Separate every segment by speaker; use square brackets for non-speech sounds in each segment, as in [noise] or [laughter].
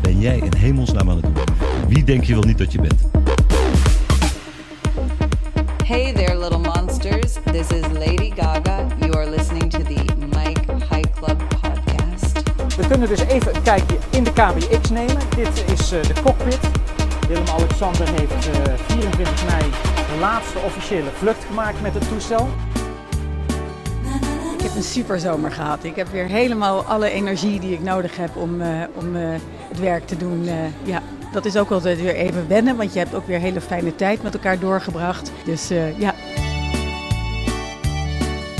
Speaker 1: ben jij in hemelsnaam aan het doen? Wie denk je wel niet dat je bent?
Speaker 2: Hey there, little monsters. This is Lady Gaga. You are listening to the Mike High Club podcast.
Speaker 3: We kunnen dus even een kijkje in de KBX nemen. Dit is eh, de cockpit. Willem-Alexander heeft eh, 24 mei de laatste officiële vlucht gemaakt met het toestel.
Speaker 4: Ik heb een super zomer gehad. Ik heb weer helemaal alle energie die ik nodig heb om, eh, om eh, het werk te doen. eh, ja, dat is ook altijd weer even wennen, want je hebt ook weer hele fijne tijd met elkaar doorgebracht. Dus eh, ja,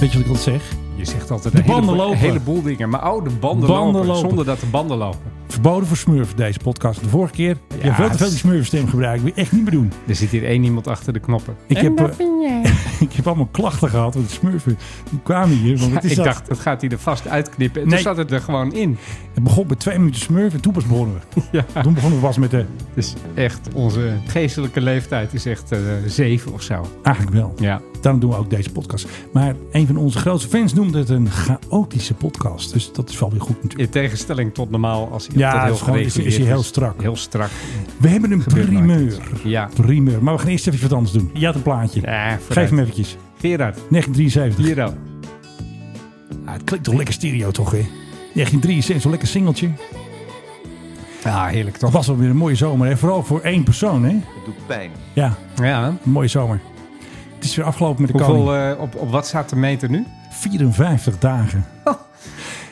Speaker 5: Weet je wat ik altijd zeg?
Speaker 6: Je zegt altijd
Speaker 5: De
Speaker 6: een heleboel,
Speaker 5: banden lopen.
Speaker 6: een heleboel dingen. Maar oh, de banden,
Speaker 5: Banden
Speaker 6: lopen,
Speaker 5: lopen.
Speaker 6: Zonder dat de banden lopen.
Speaker 5: Verboden voor smurf deze podcast. De vorige keer heb je
Speaker 6: Ja,
Speaker 5: veel te
Speaker 6: het
Speaker 5: veel
Speaker 6: is-
Speaker 5: die smurfstem gebruikt. Moet je echt niet meer doen.
Speaker 6: Er zit hier één iemand achter de knoppen. [laughs]
Speaker 5: Ik heb, eh, [laughs] ik heb allemaal klachten gehad. Want de smurfen die kwamen hier. Want het, is
Speaker 6: ik
Speaker 5: dat-
Speaker 6: dacht, dat gaat hij er vast uitknippen. En
Speaker 5: Nee.
Speaker 6: toen zat het er gewoon in.
Speaker 5: het begon met twee minuten smurf en toen pas begonnen we.
Speaker 6: [laughs] Ja.
Speaker 5: Toen begonnen we pas met de...
Speaker 6: Dus echt, onze geestelijke leeftijd is echt eh, zeven of zo.
Speaker 5: Eigenlijk wel.
Speaker 6: Ja.
Speaker 5: Daarom doen we ook deze podcast. Maar een van onze grootste fans noemde het een chaotische podcast. Dus dat is wel weer goed natuurlijk.
Speaker 6: In tegenstelling tot normaal als hij
Speaker 5: Ja,
Speaker 6: altijd
Speaker 5: het
Speaker 6: heel
Speaker 5: is gewoon- is-
Speaker 6: gereguleerd
Speaker 5: is hij heel strak.
Speaker 6: Heel strak.
Speaker 5: We hebben een
Speaker 6: Gebeurt nooit
Speaker 5: primeur.
Speaker 6: Ja.
Speaker 5: Primeur. Maar we gaan eerst even wat anders doen. Je had een plaatje.
Speaker 6: ja
Speaker 5: Geef hem eventjes.
Speaker 6: Gerard,
Speaker 5: 1973.
Speaker 6: hier dan.
Speaker 5: Ah, het klinkt toch lekker stereo toch, hè? 1973, zo'n lekker singeltje.
Speaker 6: Ja, heerlijk
Speaker 5: Dat
Speaker 6: toch?
Speaker 5: was wel weer een mooie zomer, hè? Vooral voor één persoon, hè?
Speaker 7: Het doet pijn.
Speaker 5: Ja,
Speaker 6: Ja.
Speaker 5: een mooie zomer. Het is weer afgelopen met de koning.
Speaker 6: Hoeveel, eh, op, op wat staat de meter nu?
Speaker 5: 54
Speaker 7: [laughs]
Speaker 5: dagen.
Speaker 7: Oh,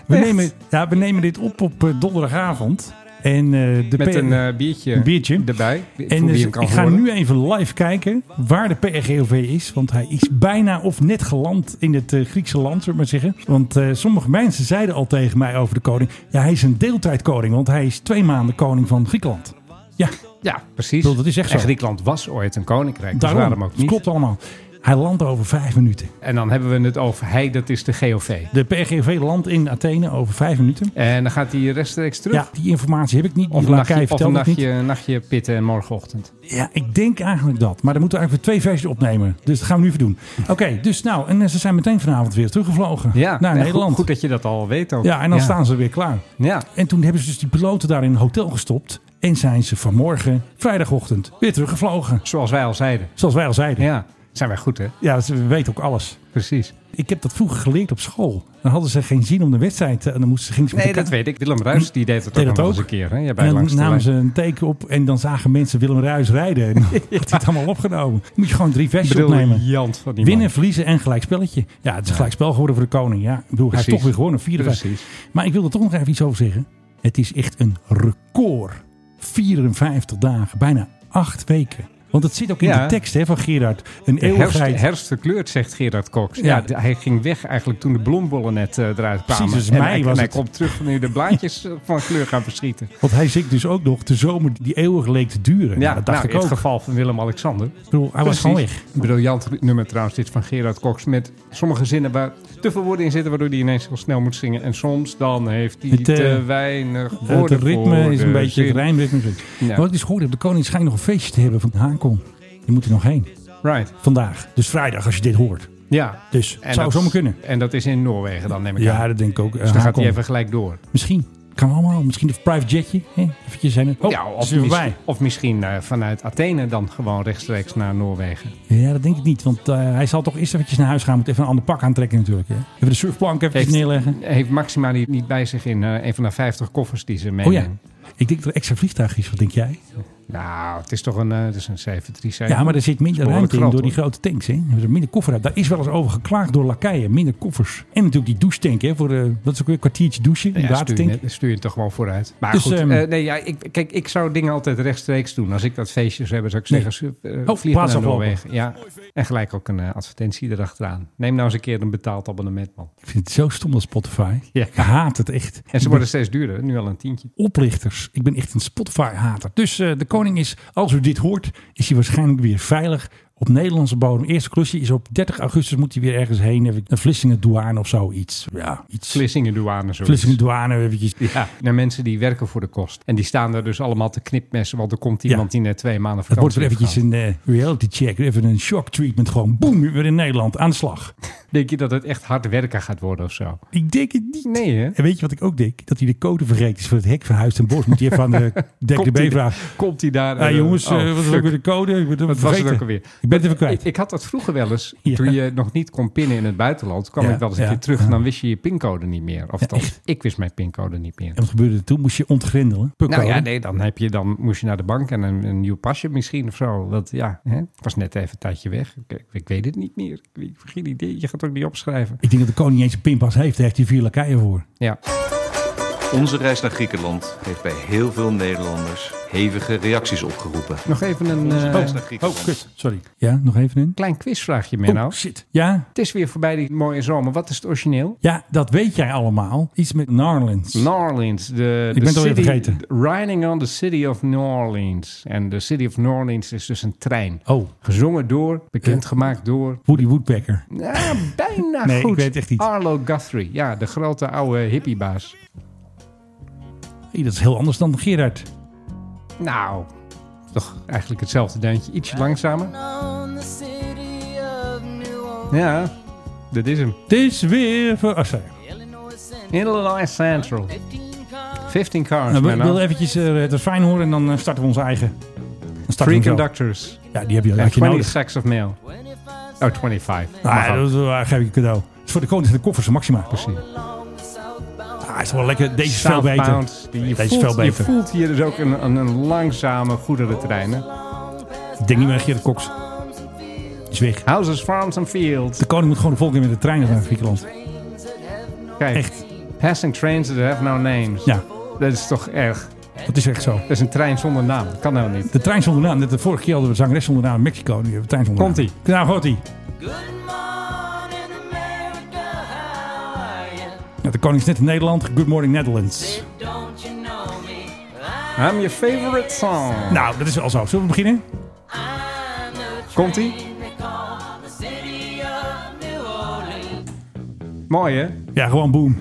Speaker 5: we,
Speaker 6: echt?
Speaker 5: nemen, ja, we nemen dit op op eh, donderdagavond. En eh, de
Speaker 6: Met
Speaker 5: P-
Speaker 6: een eh, biertje,
Speaker 5: een biertje.
Speaker 6: erbij.
Speaker 5: en
Speaker 6: Voor wie
Speaker 5: dus
Speaker 6: hem kan
Speaker 5: ik ga
Speaker 6: horen.
Speaker 5: nu even live kijken waar de PRGOV is. Want hij is bijna of net geland in het eh, Griekse land, zullen we maar zeggen. Want eh, sommige mensen zeiden al tegen mij over de koning. Ja, hij is een deeltijdkoning, want hij is twee maanden koning van Griekenland. Ja,
Speaker 6: Ja, precies.
Speaker 5: bedoel, dat is echt
Speaker 6: en
Speaker 5: zo.
Speaker 6: Griekenland was ooit een koninkrijk.
Speaker 5: daarom.
Speaker 6: Dus waarom ook
Speaker 5: Het
Speaker 6: niet?
Speaker 5: klopt allemaal. Hij landt over vijf minuten.
Speaker 6: En dan hebben we het over hij, dat is de GOV.
Speaker 5: De PRGOV landt in Athene over vijf minuten.
Speaker 6: En dan gaat hij rechtstreeks terug.
Speaker 5: Ja, die informatie heb ik niet.
Speaker 6: Of
Speaker 5: Die
Speaker 6: een
Speaker 5: lakij
Speaker 6: nachtje, of een
Speaker 5: vertelde het niet.
Speaker 6: nachtje, nachtje pitten en morgenochtend.
Speaker 5: Ja, ik denk eigenlijk dat. Maar dan moeten we eigenlijk weer twee versies opnemen. Dus dat gaan we nu even
Speaker 6: [laughs]
Speaker 5: doen. Oké, dus nou, en eh, ze zijn meteen vanavond weer teruggevlogen
Speaker 6: Ja,
Speaker 5: naar
Speaker 6: Nou, nee,
Speaker 5: Nederland.
Speaker 6: Goed, goed dat je dat al weet ook.
Speaker 5: Ja, en dan staan ze weer klaar.
Speaker 6: Ja,
Speaker 5: En toen hebben ze dus die piloten daar in een hotel gestopt. En zijn ze vanmorgen, vrijdagochtend, weer teruggevlogen.
Speaker 6: zoals wij al zeiden.
Speaker 5: Zoals wij al zeiden. Ja,
Speaker 6: Ja, zijn wij goed hè?
Speaker 5: ze weten ook alles.
Speaker 6: Precies.
Speaker 5: Ik heb dat vroeger geleerd op school. Dan hadden ze geen zin om de wedstrijd. eh, En dan moesten ze, gingen ze met
Speaker 6: Nee,
Speaker 5: elkaar-
Speaker 6: dat weet ik. Willem Ruijs die deed het
Speaker 5: Deed
Speaker 6: ook
Speaker 5: dat
Speaker 6: nog eens
Speaker 5: ook.
Speaker 6: een keer. Hè? Ja, bij
Speaker 5: En
Speaker 6: langs
Speaker 5: dan
Speaker 6: de
Speaker 5: namen
Speaker 6: lijn.
Speaker 5: ze een teken op en dan zagen mensen Willem Ruijs rijden. En [laughs] dan had hij het allemaal opgenomen. Dan moet je gewoon drie
Speaker 6: Ik
Speaker 5: versies
Speaker 6: bedoel,
Speaker 5: opnemen.
Speaker 6: Jant van die
Speaker 5: Winnen,
Speaker 6: man.
Speaker 5: verliezen en gelijkspelletje. Ja, het is gelijkspel geworden voor de koning. Ja, ik bedoel, hij heeft
Speaker 6: Precies.
Speaker 5: toch weer gewonnen. Vierde
Speaker 6: Precies.
Speaker 5: Maar ik wil er toch nog even iets over zeggen. Het is echt een record. 54 dagen, bijna acht weken. Want het zit ook in
Speaker 6: Ja.
Speaker 5: de tekst hè, van Gerard. Een
Speaker 6: Herfst,
Speaker 5: eeuwigheid.
Speaker 6: herfst verkleurd, zegt Gerard Cox.
Speaker 5: Ja.
Speaker 6: Ja. d- hij ging weg eigenlijk toen de bloembollen net eh, eruit kwamen.
Speaker 5: Precies, dus
Speaker 6: en
Speaker 5: mei
Speaker 6: hij,
Speaker 5: was
Speaker 6: en hij
Speaker 5: het.
Speaker 6: komt terug nu de blaadjes eh, van kleur gaan verschieten.
Speaker 5: Want hij zingt dus ook nog de zomer die eeuwig leek te duren. Ja, dat dacht
Speaker 6: nou,
Speaker 5: ik
Speaker 6: In
Speaker 5: ook.
Speaker 6: het geval van Willem-Alexander.
Speaker 5: Ik bedoel, hij was
Speaker 6: Precies.
Speaker 5: gewoon weg.
Speaker 6: Een briljant nummer trouwens, dit van Gerard Cox. Met sommige zinnen waar te veel woorden in zitten, waardoor hij ineens heel snel moet zingen. En soms dan heeft hij
Speaker 5: Het, eh,
Speaker 6: te weinig
Speaker 5: Het
Speaker 6: woorden.
Speaker 5: ritme
Speaker 6: voor
Speaker 5: is een
Speaker 6: de
Speaker 5: beetje, het
Speaker 6: zin.
Speaker 5: rijmritme.
Speaker 6: Ja.
Speaker 5: Wat ik dus gehoord heb, de koning schijnt nog een feestje te hebben van Haakon. Die moet er nog heen.
Speaker 6: Right.
Speaker 5: Vandaag. Dus vrijdag als je dit hoort.
Speaker 6: Ja.
Speaker 5: Dus het zou
Speaker 6: dat-
Speaker 5: zomaar kunnen.
Speaker 6: En dat is in Noorwegen dan, neem ik aan.
Speaker 5: Ja, dat denk ik ook. Eh,
Speaker 6: Dus dan gaat hij
Speaker 5: Haakon.
Speaker 6: even gelijk door.
Speaker 5: Misschien. Kan allemaal. Misschien een private jetje. Hè? Eventjes heen. Oh,
Speaker 6: ja,
Speaker 5: is
Speaker 6: of,
Speaker 5: weer
Speaker 6: mis-
Speaker 5: voorbij.
Speaker 6: of misschien eh, vanuit Athene dan gewoon rechtstreeks naar Noorwegen.
Speaker 5: Ja, dat denk ik niet. Want eh, hij zal toch eerst eventjes naar huis gaan. Moet even een ander pak aantrekken natuurlijk. Hè? Even de surfplank eventjes
Speaker 6: Heeft-
Speaker 5: neerleggen.
Speaker 6: Heeft Maxima die niet bij zich in eh, een van de 50 koffers die ze
Speaker 5: Oh ja.
Speaker 6: meeneemt?
Speaker 5: Ik denk dat er extra vliegtuig is. Wat denk jij?
Speaker 6: Nou, het is toch een, eh, het is een 737.
Speaker 5: Ja, maar er zit minder
Speaker 6: is behoorlijk
Speaker 5: ruimte in
Speaker 6: groot,
Speaker 5: door die grote tanks. Hè? Er is minder koffer uit. Daar is wel eens over geklaagd door lakijen. Minder koffers. En natuurlijk die douchetank. Hè, voor, de dat is ook weer een kwartiertje douchen. Die
Speaker 6: Ja, stuur,
Speaker 5: watertank.
Speaker 6: je, stuur je het toch gewoon vooruit. Maar
Speaker 5: Dus,
Speaker 6: goed,
Speaker 5: ehm,
Speaker 6: eh, nee, ja, ik, kijk, ik zou dingen altijd rechtstreeks doen. Als ik dat feestje zou hebben, zou ik
Speaker 5: Nee.
Speaker 6: zeggen, eh,
Speaker 5: Oh,
Speaker 6: vlieg naar
Speaker 5: plaatsaflopen.
Speaker 6: Noorwegen. Ja. En gelijk ook een eh, advertentie erachteraan. Neem nou eens een keer een betaald abonnement, man.
Speaker 5: Ik vind het zo stom dat Spotify.
Speaker 6: Ja.
Speaker 5: Ik haat het echt.
Speaker 6: En ze worden steeds duurder, nu al een tientje.
Speaker 5: oplichters. Ik ben echt een Spotify-hater. Dus eh, de koning is, als u dit hoort, is hij waarschijnlijk weer veilig op Nederlandse bodem. Eerste klusje is op 30 augustus moet hij weer ergens heen. Even een Vlissingen douane of zoiets. Ja, iets.
Speaker 6: Vlissingen douane zo.
Speaker 5: Vlissingen douane eventjes.
Speaker 6: Ja, [laughs] naar mensen die werken voor de kost. En die staan daar dus allemaal te knipmessen, want er komt iemand
Speaker 5: Ja.
Speaker 6: die net twee maanden
Speaker 5: Dat
Speaker 6: vakantie
Speaker 5: wordt weer
Speaker 6: heeft
Speaker 5: eventjes
Speaker 6: gehad.
Speaker 5: een eh, reality check. Even een shock treatment. Gewoon boem, weer in Nederland. Aan de slag.
Speaker 6: Denk je dat het echt hard werken gaat worden of zo?
Speaker 5: Ik denk het niet.
Speaker 6: Nee, hè?
Speaker 5: En weet je wat ik ook denk? Dat hij de code vergeten is voor het hek van Huis en Bos. Moet hij even aan
Speaker 6: [laughs]
Speaker 5: de
Speaker 6: Komt
Speaker 5: DKB
Speaker 6: hij-
Speaker 5: vragen.
Speaker 6: Komt hij daar...
Speaker 5: Ah,
Speaker 6: eh,
Speaker 5: jongens,
Speaker 6: oh,
Speaker 5: eh, wat was
Speaker 6: fuck.
Speaker 5: ook weer de code? Ik ben het
Speaker 6: Wat was het
Speaker 5: vergeten.
Speaker 6: ook alweer?
Speaker 5: Ik ben het even kwijt.
Speaker 6: Ik, ik had dat vroeger wel eens.
Speaker 5: Ja.
Speaker 6: Toen je nog niet kon pinnen in het buitenland, kwam
Speaker 5: Ja,
Speaker 6: ik wel eens een
Speaker 5: ja,
Speaker 6: keer terug
Speaker 5: ja.
Speaker 6: en dan wist je je pincode niet meer. Of
Speaker 5: Ja,
Speaker 6: dan,
Speaker 5: echt.
Speaker 6: ik wist mijn pincode niet meer.
Speaker 5: En wat gebeurde er toen? Moest je ontgrendelen?
Speaker 6: Nou ja,
Speaker 5: Pukkelden?
Speaker 6: nee, dan, heb je, dan moest je naar de bank en een, een nieuw pasje misschien of zo. Dat, ja, hè? Ik was net even een tijdje weg. Ik, ik- ik weet het niet meer. Ik, ik heb geen idee. Je gaat het ook niet opschrijven.
Speaker 5: Ik denk dat de koning niet eens een pinpas heeft. Daar heeft hij vier lakijen voor.
Speaker 6: Ja,
Speaker 7: Onze reis naar Griekenland heeft bij heel veel Nederlanders hevige reacties opgeroepen.
Speaker 6: nog even een
Speaker 7: Onze
Speaker 6: eh,
Speaker 7: reis naar Griekenland.
Speaker 5: Sorry. Oh. Ja, nog even in.
Speaker 6: klein quizvraagje, Menno.
Speaker 5: Oh, shit. Ja?
Speaker 6: Het is weer voorbij die mooie zomer. Wat is het origineel?
Speaker 5: Ja, dat weet jij allemaal. Iets met Narlands.
Speaker 6: New Orleans. De,
Speaker 5: Ik
Speaker 6: de
Speaker 5: ben het alweer
Speaker 6: city-
Speaker 5: vergeten.
Speaker 6: Riding on the City of New Orleans. En de City of New Orleans is dus een trein.
Speaker 5: oh,
Speaker 6: Gezongen door, bekendgemaakt door...
Speaker 5: Woody Woodpecker.
Speaker 6: Ja, bijna
Speaker 5: Nee, ik
Speaker 6: goed.
Speaker 5: weet het echt niet.
Speaker 6: Arlo Guthrie. Ja, de grote oude hippiebaas.
Speaker 5: Hey, dat is heel anders dan Gerard.
Speaker 6: Nou, toch eigenlijk hetzelfde deuntje. Ietsje langzamer. Ja, dat is hem.
Speaker 5: Het is weer... Voor... Oh, sorry.
Speaker 6: Illinois Central. 15 cars,
Speaker 5: Nou, we
Speaker 6: Menno.
Speaker 5: wilden eventjes eh, het fijn horen en dan eh, starten we onze eigen. Dan starten we
Speaker 6: Three
Speaker 5: hem zo.
Speaker 6: conductors.
Speaker 5: Ja, die heb je,
Speaker 6: En
Speaker 5: heb je
Speaker 6: 20
Speaker 5: nodig.
Speaker 6: sacks of mail. Oh, 25.
Speaker 5: Ah,
Speaker 6: Mag ook.
Speaker 5: dat is, wel- geef ik een cadeau. Het is voor de koning en de koffers, Maxima.
Speaker 6: Precies.
Speaker 5: Ah, is wel lekker. Deze is veel
Speaker 6: Southbound,
Speaker 5: beter.
Speaker 6: Je,
Speaker 5: Deze is
Speaker 6: voelt,
Speaker 5: veel
Speaker 6: je
Speaker 5: beter.
Speaker 6: voelt hier dus ook een, een, een langzame goederentrein. hè.
Speaker 5: Ik denk niet meer aan Gerard Cox. Is weg.
Speaker 6: Houses, farms and fields.
Speaker 5: De koning moet gewoon de volgende keer met de trein naar Griekenland.
Speaker 6: Kijk,
Speaker 5: Echt.
Speaker 6: passing trains that have no names.
Speaker 5: Ja,
Speaker 6: Dat is toch erg.
Speaker 5: dat is echt zo.
Speaker 6: Dat is een trein zonder naam. Dat kan nou niet.
Speaker 5: De trein zonder naam. Net de vorige keer hadden we de zangeres zonder naam in Mexico. Nu hebben we de trein zonder naam.
Speaker 6: Komt-ie.
Speaker 5: Nou, hoort ie. Ja, de koning is net in Nederland. Good morning Netherlands.
Speaker 6: I'm your favorite song.
Speaker 5: Nou, dat is wel zo. Zullen we beginnen?
Speaker 6: Komt ie? Mooi hè?
Speaker 5: Ja, gewoon boom.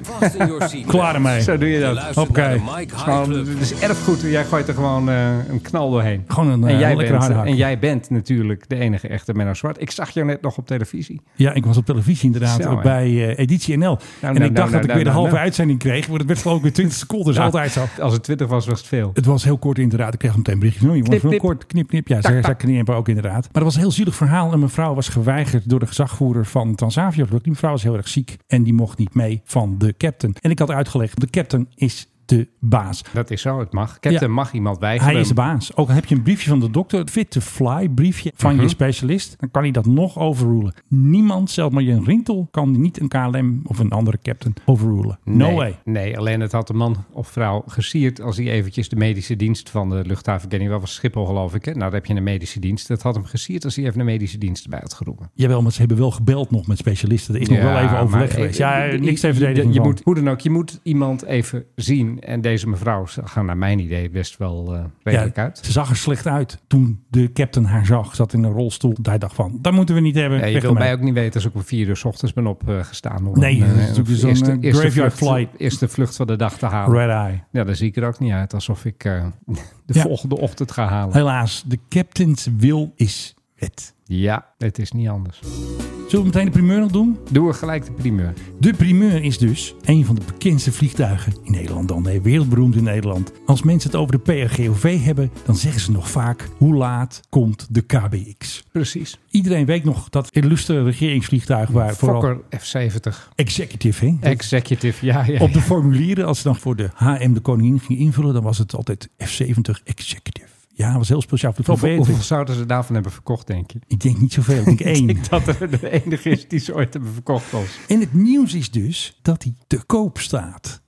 Speaker 5: Klaar ermee.
Speaker 6: Zo doe je dat.
Speaker 5: Hoppakee.
Speaker 6: Gewoon, Het is erfgoed. Jij gooit er gewoon eh, een knal doorheen.
Speaker 5: Gewoon een,
Speaker 6: en,
Speaker 5: eh,
Speaker 6: jij
Speaker 5: lekkere
Speaker 6: bent,
Speaker 5: harde hak.
Speaker 6: en jij bent natuurlijk de enige echte Menno Zwart. Ik zag jou net nog op televisie.
Speaker 5: Ja, ik was op televisie inderdaad
Speaker 6: Zo, hè.
Speaker 5: bij eh, Editie NL. en ik
Speaker 6: nou,
Speaker 5: dacht dat
Speaker 6: nou,
Speaker 5: ik
Speaker 6: nou,
Speaker 5: weer de halve
Speaker 6: nou, nou.
Speaker 5: uitzending kreeg. Maar het werd geloof ik weer 20 seconden. Dat is
Speaker 6: Ja.
Speaker 5: altijd zo.
Speaker 6: Als het 20 was, was het veel.
Speaker 5: Het was heel kort inderdaad. Ik kreeg al meteen berichtjes. Nou, jongens,
Speaker 6: Knip,
Speaker 5: heel
Speaker 6: knip.
Speaker 5: kort. Knip, knip. Ja, ze zei knippen ook inderdaad. Maar dat was een heel zielig verhaal. En mevrouw was geweigerd door de gezagvoerder van Transavia. Die mevrouw was heel erg ziek en die mocht niet mee van de captain. En ik had uitgelegd, de captain is de baas.
Speaker 6: Dat is zo, het mag. Captain
Speaker 5: Ja.
Speaker 6: mag iemand weigeren.
Speaker 5: Hij is de baas. Ook al heb je een briefje van de dokter, het fit to fly briefje van
Speaker 6: Mhm.
Speaker 5: je specialist, dan kan hij dat nog overrulen. Niemand, zelfs maar Jan Rintel, kan niet een KLM of een andere captain overrulen. No
Speaker 6: nee,
Speaker 5: way.
Speaker 6: Nee, alleen het had de man of vrouw gesierd als hij eventjes de medische dienst van de luchthaven kende. Wel was Schiphol geloof ik. Hè? Nou, daar heb je een medische dienst. Dat had hem gesierd als hij even de medische dienst erbij had geroepen.
Speaker 5: Jawel, maar ze hebben wel gebeld nog met specialisten. Er is nog
Speaker 6: Ja,
Speaker 5: wel even
Speaker 6: maar,
Speaker 5: overleg
Speaker 6: eh,
Speaker 5: geweest. Ja,
Speaker 6: eh,
Speaker 5: niks te
Speaker 6: je-
Speaker 5: verdedigen.
Speaker 6: Je,
Speaker 5: van.
Speaker 6: moet, hoe dan ook, je moet iemand even zien. En deze mevrouw gaan naar mijn idee best wel eh, redelijk uit.
Speaker 5: Ze zag er slecht uit toen de captain haar zag. Zat in een rolstoel. Hij dacht van, dat moeten we niet hebben.
Speaker 6: Ja, je
Speaker 5: Weg
Speaker 6: wil
Speaker 5: ermee.
Speaker 6: mij ook niet weten als ik om vier uur 's ochtends ben opgestaan. om
Speaker 5: Nee,
Speaker 6: een,
Speaker 5: dat is
Speaker 6: eh,
Speaker 5: natuurlijk zo'n, eh, graveyard
Speaker 6: vlucht,
Speaker 5: flight.
Speaker 6: eerste vlucht van de dag te halen.
Speaker 5: Red eye.
Speaker 6: Ja, dan zie ik er ook niet uit alsof ik eh, [laughs] de
Speaker 5: Ja.
Speaker 6: volgende ochtend ga halen.
Speaker 5: Helaas, de captain's wil is wet.
Speaker 6: Ja, het is niet anders.
Speaker 5: Zullen we meteen de primeur nog doen?
Speaker 6: Doe er gelijk de primeur.
Speaker 5: De primeur is dus een van de bekendste vliegtuigen in Nederland dan. Nee, wereldberoemd in Nederland. Als mensen het over de PRGOV hebben, dan zeggen ze nog vaak... hoe laat komt de KBX?
Speaker 6: Precies.
Speaker 5: Iedereen weet nog dat illustre regeringsvliegtuig... waar vooral
Speaker 6: Fokker F70.
Speaker 5: executive, hè?
Speaker 6: Executive, ja, ja.
Speaker 5: Op de formulieren, als ze dan voor de HM de koningin ging invullen, dan was het altijd F70 Executive. Ja, was heel speciaal. Voor de
Speaker 6: Hoeveel,
Speaker 5: alfabet.
Speaker 6: hoeveel zouden ze daarvan hebben verkocht, denk je?
Speaker 5: Ik denk niet zoveel, ik denk
Speaker 6: [laughs]
Speaker 5: één.
Speaker 6: Ik dat er de enige is die ze ooit hebben verkocht was.
Speaker 5: En het nieuws is dus dat hij te koop staat.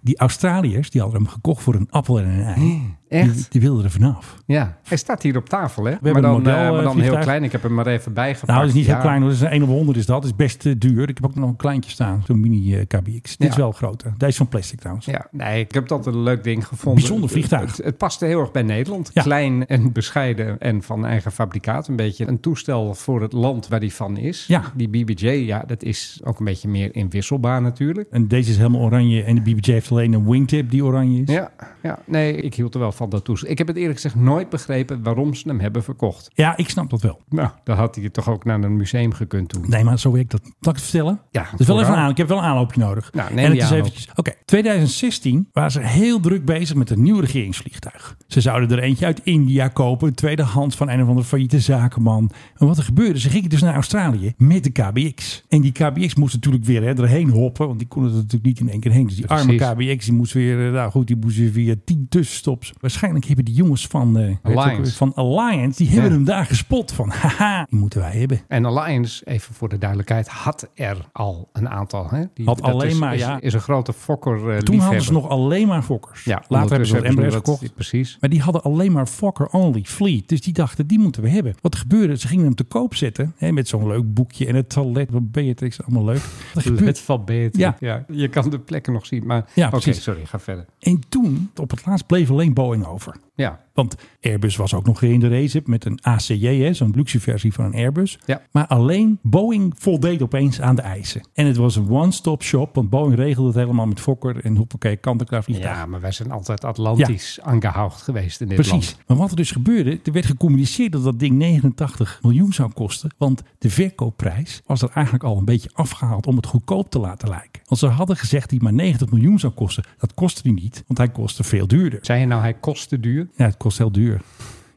Speaker 5: Die Australiërs die hadden hem gekocht voor een appel en een ei. Die,
Speaker 6: Echt?
Speaker 5: die wilden er vanaf.
Speaker 6: Ja. Mhm. Hij staat hier op tafel, hè?
Speaker 5: hebben
Speaker 6: maar dan,
Speaker 5: een model,
Speaker 6: eh, maar
Speaker 5: eh,
Speaker 6: dan heel
Speaker 5: vliegtuig.
Speaker 6: klein. Ik heb hem maar even bijgepakt.
Speaker 5: Nou, dat is niet
Speaker 6: Ja.
Speaker 5: heel klein hoor. Dat is een 1 op 100 is dat. Dat is best eh, duur. Ik heb ook nog een kleintje staan. Zo'n mini eh, KBX. Dit
Speaker 6: Ja.
Speaker 5: is wel groter. Deze is van plastic trouwens.
Speaker 6: Ja, nee, ik heb dat een leuk ding gevonden.
Speaker 5: Bijzonder vliegtuig.
Speaker 6: Het, het paste heel erg bij Nederland.
Speaker 5: Ja.
Speaker 6: Klein en bescheiden en van eigen fabrikaat. Een beetje een toestel voor het land waar die van is.
Speaker 5: Ja.
Speaker 6: Die BBJ, ja, dat is ook een beetje meer inwisselbaar natuurlijk.
Speaker 5: En deze is helemaal oranje. En de BBJ heeft alleen een wingtip die oranje is.
Speaker 6: Ja, ja, nee, ik hield er wel van dat toestel. Ik heb het eerlijk gezegd nooit begrepen waarom ze hem hebben verkocht.
Speaker 5: Ja, ik snap dat wel.
Speaker 6: Nou, dan had hij het toch ook naar een museum gekund toen.
Speaker 5: Nee, maar zo werkt dat niet. Zal ik het vertellen?
Speaker 6: Ja,
Speaker 5: Dus wel even
Speaker 6: vooral.
Speaker 5: aan. Ik heb wel een aanloopje nodig.
Speaker 6: Nou, neem
Speaker 5: en het
Speaker 6: die
Speaker 5: is
Speaker 6: aanloop.
Speaker 5: eventjes. Oké, 2016 waren ze heel druk bezig met een nieuw regeringsvliegtuig. Ze zouden er eentje uit India kopen, een tweedehand van een of andere failliete zakenman. En wat er gebeurde, ze gingen dus naar Australië met de KBX. En die KBX moest natuurlijk weer hè, erheen hoppen, want die konden er natuurlijk niet in één keer heen. Dus die arme
Speaker 6: Precies.
Speaker 5: KBX die moest weer, eh, nou goed, die moest weer via tien tussenstops. Waarschijnlijk hebben die jongens van, eh, weet je ook
Speaker 6: Alliance.
Speaker 5: weer, van Alliance, die hebben
Speaker 6: Ja.
Speaker 5: hem daar gespot van, [laughs] haha, die moeten wij hebben.
Speaker 6: En Alliance, even voor de duidelijkheid, had er al een aantal. Hè? Die,
Speaker 5: Had
Speaker 6: dat
Speaker 5: alleen
Speaker 6: is,
Speaker 5: maar,
Speaker 6: is,
Speaker 5: ja.
Speaker 6: Is een grote fokker eh
Speaker 5: Toen hadden ze nog alleen maar Fokkers.
Speaker 6: Ja,
Speaker 5: Later hebben ze
Speaker 6: ondertussen
Speaker 5: wat Embraers
Speaker 6: dat-
Speaker 5: gekocht. [laughs]
Speaker 6: Precies.
Speaker 5: Maar die hadden alleen maar Fokker Only Fleet. Dus die dachten, die moeten we hebben. Wat gebeurde? Ze gingen hem te koop zetten. Hè, met zo'n leuk boekje en het toilet. Wat Beatrix, allemaal leuk.
Speaker 6: [laughs]
Speaker 5: Wat er gebeurt?
Speaker 6: Het van beter.
Speaker 5: Ja.
Speaker 6: Ja. je kan de plekken nog zien. Maar
Speaker 5: Ja,
Speaker 6: oké,
Speaker 5: precies.
Speaker 6: sorry, ga verder.
Speaker 5: En toen, op het laatst, bleef alleen Boeing over.
Speaker 6: Ja,
Speaker 5: Want Airbus was ook nog weer in de race met een ACJ, hè, zo'n luxe versie van een Airbus.
Speaker 6: Ja.
Speaker 5: Maar alleen Boeing voldeed opeens aan de eisen. En het was een one-stop shop, want Boeing regelde het helemaal met Fokker. En hoppakee, kant-en-klaar vliegtuig.
Speaker 6: ja maar wij zijn altijd Atlantisch aangehouden geweest in dit
Speaker 5: Precies.
Speaker 6: land.
Speaker 5: Maar wat er dus gebeurde, er werd gecommuniceerd dat dat ding 89 miljoen zou kosten. Want de verkoopprijs was er eigenlijk al een beetje afgehaald om het goedkoop te laten lijken. Want ze hadden gezegd dat hij maar 90 miljoen zou kosten. Dat kostte hij niet, want hij kostte veel duurder.
Speaker 6: Zei je nou, hij kost te duur?
Speaker 5: Ja, het kost heel duur.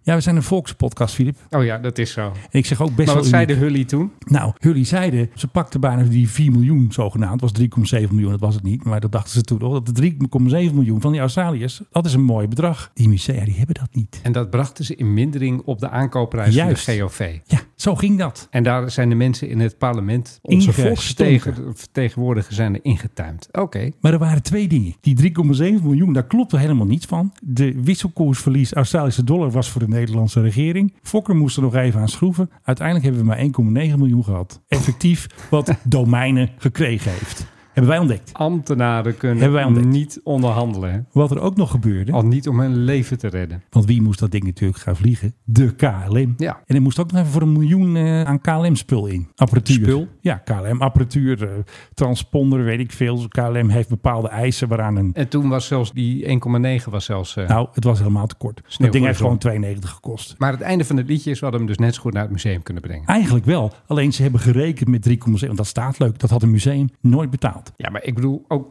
Speaker 5: Ja, we zijn een volkspodcast, Filip.
Speaker 6: Oh ja, dat is zo.
Speaker 5: En ik zeg ook best
Speaker 6: Maar
Speaker 5: wel...
Speaker 6: wat zei
Speaker 5: uniek.
Speaker 6: de Hully toen?
Speaker 5: Nou, jullie zeiden, ze pakten bijna die 4 miljoen zogenaamd. Het was 3,7 miljoen, dat was het niet. Maar dat dachten ze toen al. Dat de 3,7 miljoen van die Australiërs, dat is een mooi bedrag. Die musea, die hebben dat niet.
Speaker 6: En dat brachten ze in mindering op de aankoopprijs
Speaker 5: Juist.
Speaker 6: van de GOV.
Speaker 5: Ja, zo ging dat.
Speaker 6: En daar zijn de mensen in het parlement, onze
Speaker 5: Ingestonken.
Speaker 6: volksvertegenwoordigers, zijn er ingetuimd. Oké.
Speaker 5: Maar er waren twee dingen. Die 3,7 miljoen, daar klopte helemaal niets van. De wisselkoersverlies Australische dollar was voor de Nederlandse regering. Fokker moest er nog even aan schroeven. Uiteindelijk hebben we maar 1,9 miljoen gehad. Effectief wat domeinen gekregen heeft. Hebben wij ontdekt.
Speaker 6: Ambtenaren
Speaker 5: Hebben wij ontdekt.
Speaker 6: kunnen niet onderhandelen. hè?
Speaker 5: Wat er ook nog gebeurde,
Speaker 6: Al niet om hun leven te redden.
Speaker 5: want wie moest dat ding natuurlijk gaan vliegen? De KLM.
Speaker 6: Ja.
Speaker 5: En er moest ook nog even voor een miljoen eh, aan KLM-spul in. Apparatuur.
Speaker 6: Spul?
Speaker 5: Ja, KLM-apparatuur, eh, transponder, weet ik veel. KLM heeft bepaalde eisen waaraan een
Speaker 6: En toen was zelfs die 1,9 was zelfs... eh,
Speaker 5: Nou, het was helemaal te kort.
Speaker 6: Sneeuw
Speaker 5: dat ding
Speaker 6: voor
Speaker 5: heeft
Speaker 6: de
Speaker 5: gewoon
Speaker 6: zon.
Speaker 5: 92 gekost.
Speaker 6: Maar het einde van het liedje is, we hadden hem dus net zo goed naar het museum kunnen brengen.
Speaker 5: Eigenlijk wel. Alleen ze hebben gerekend met 3,7. Want dat staat leuk. Dat had een museum nooit betaald.
Speaker 6: Ja, maar ik bedoel, ook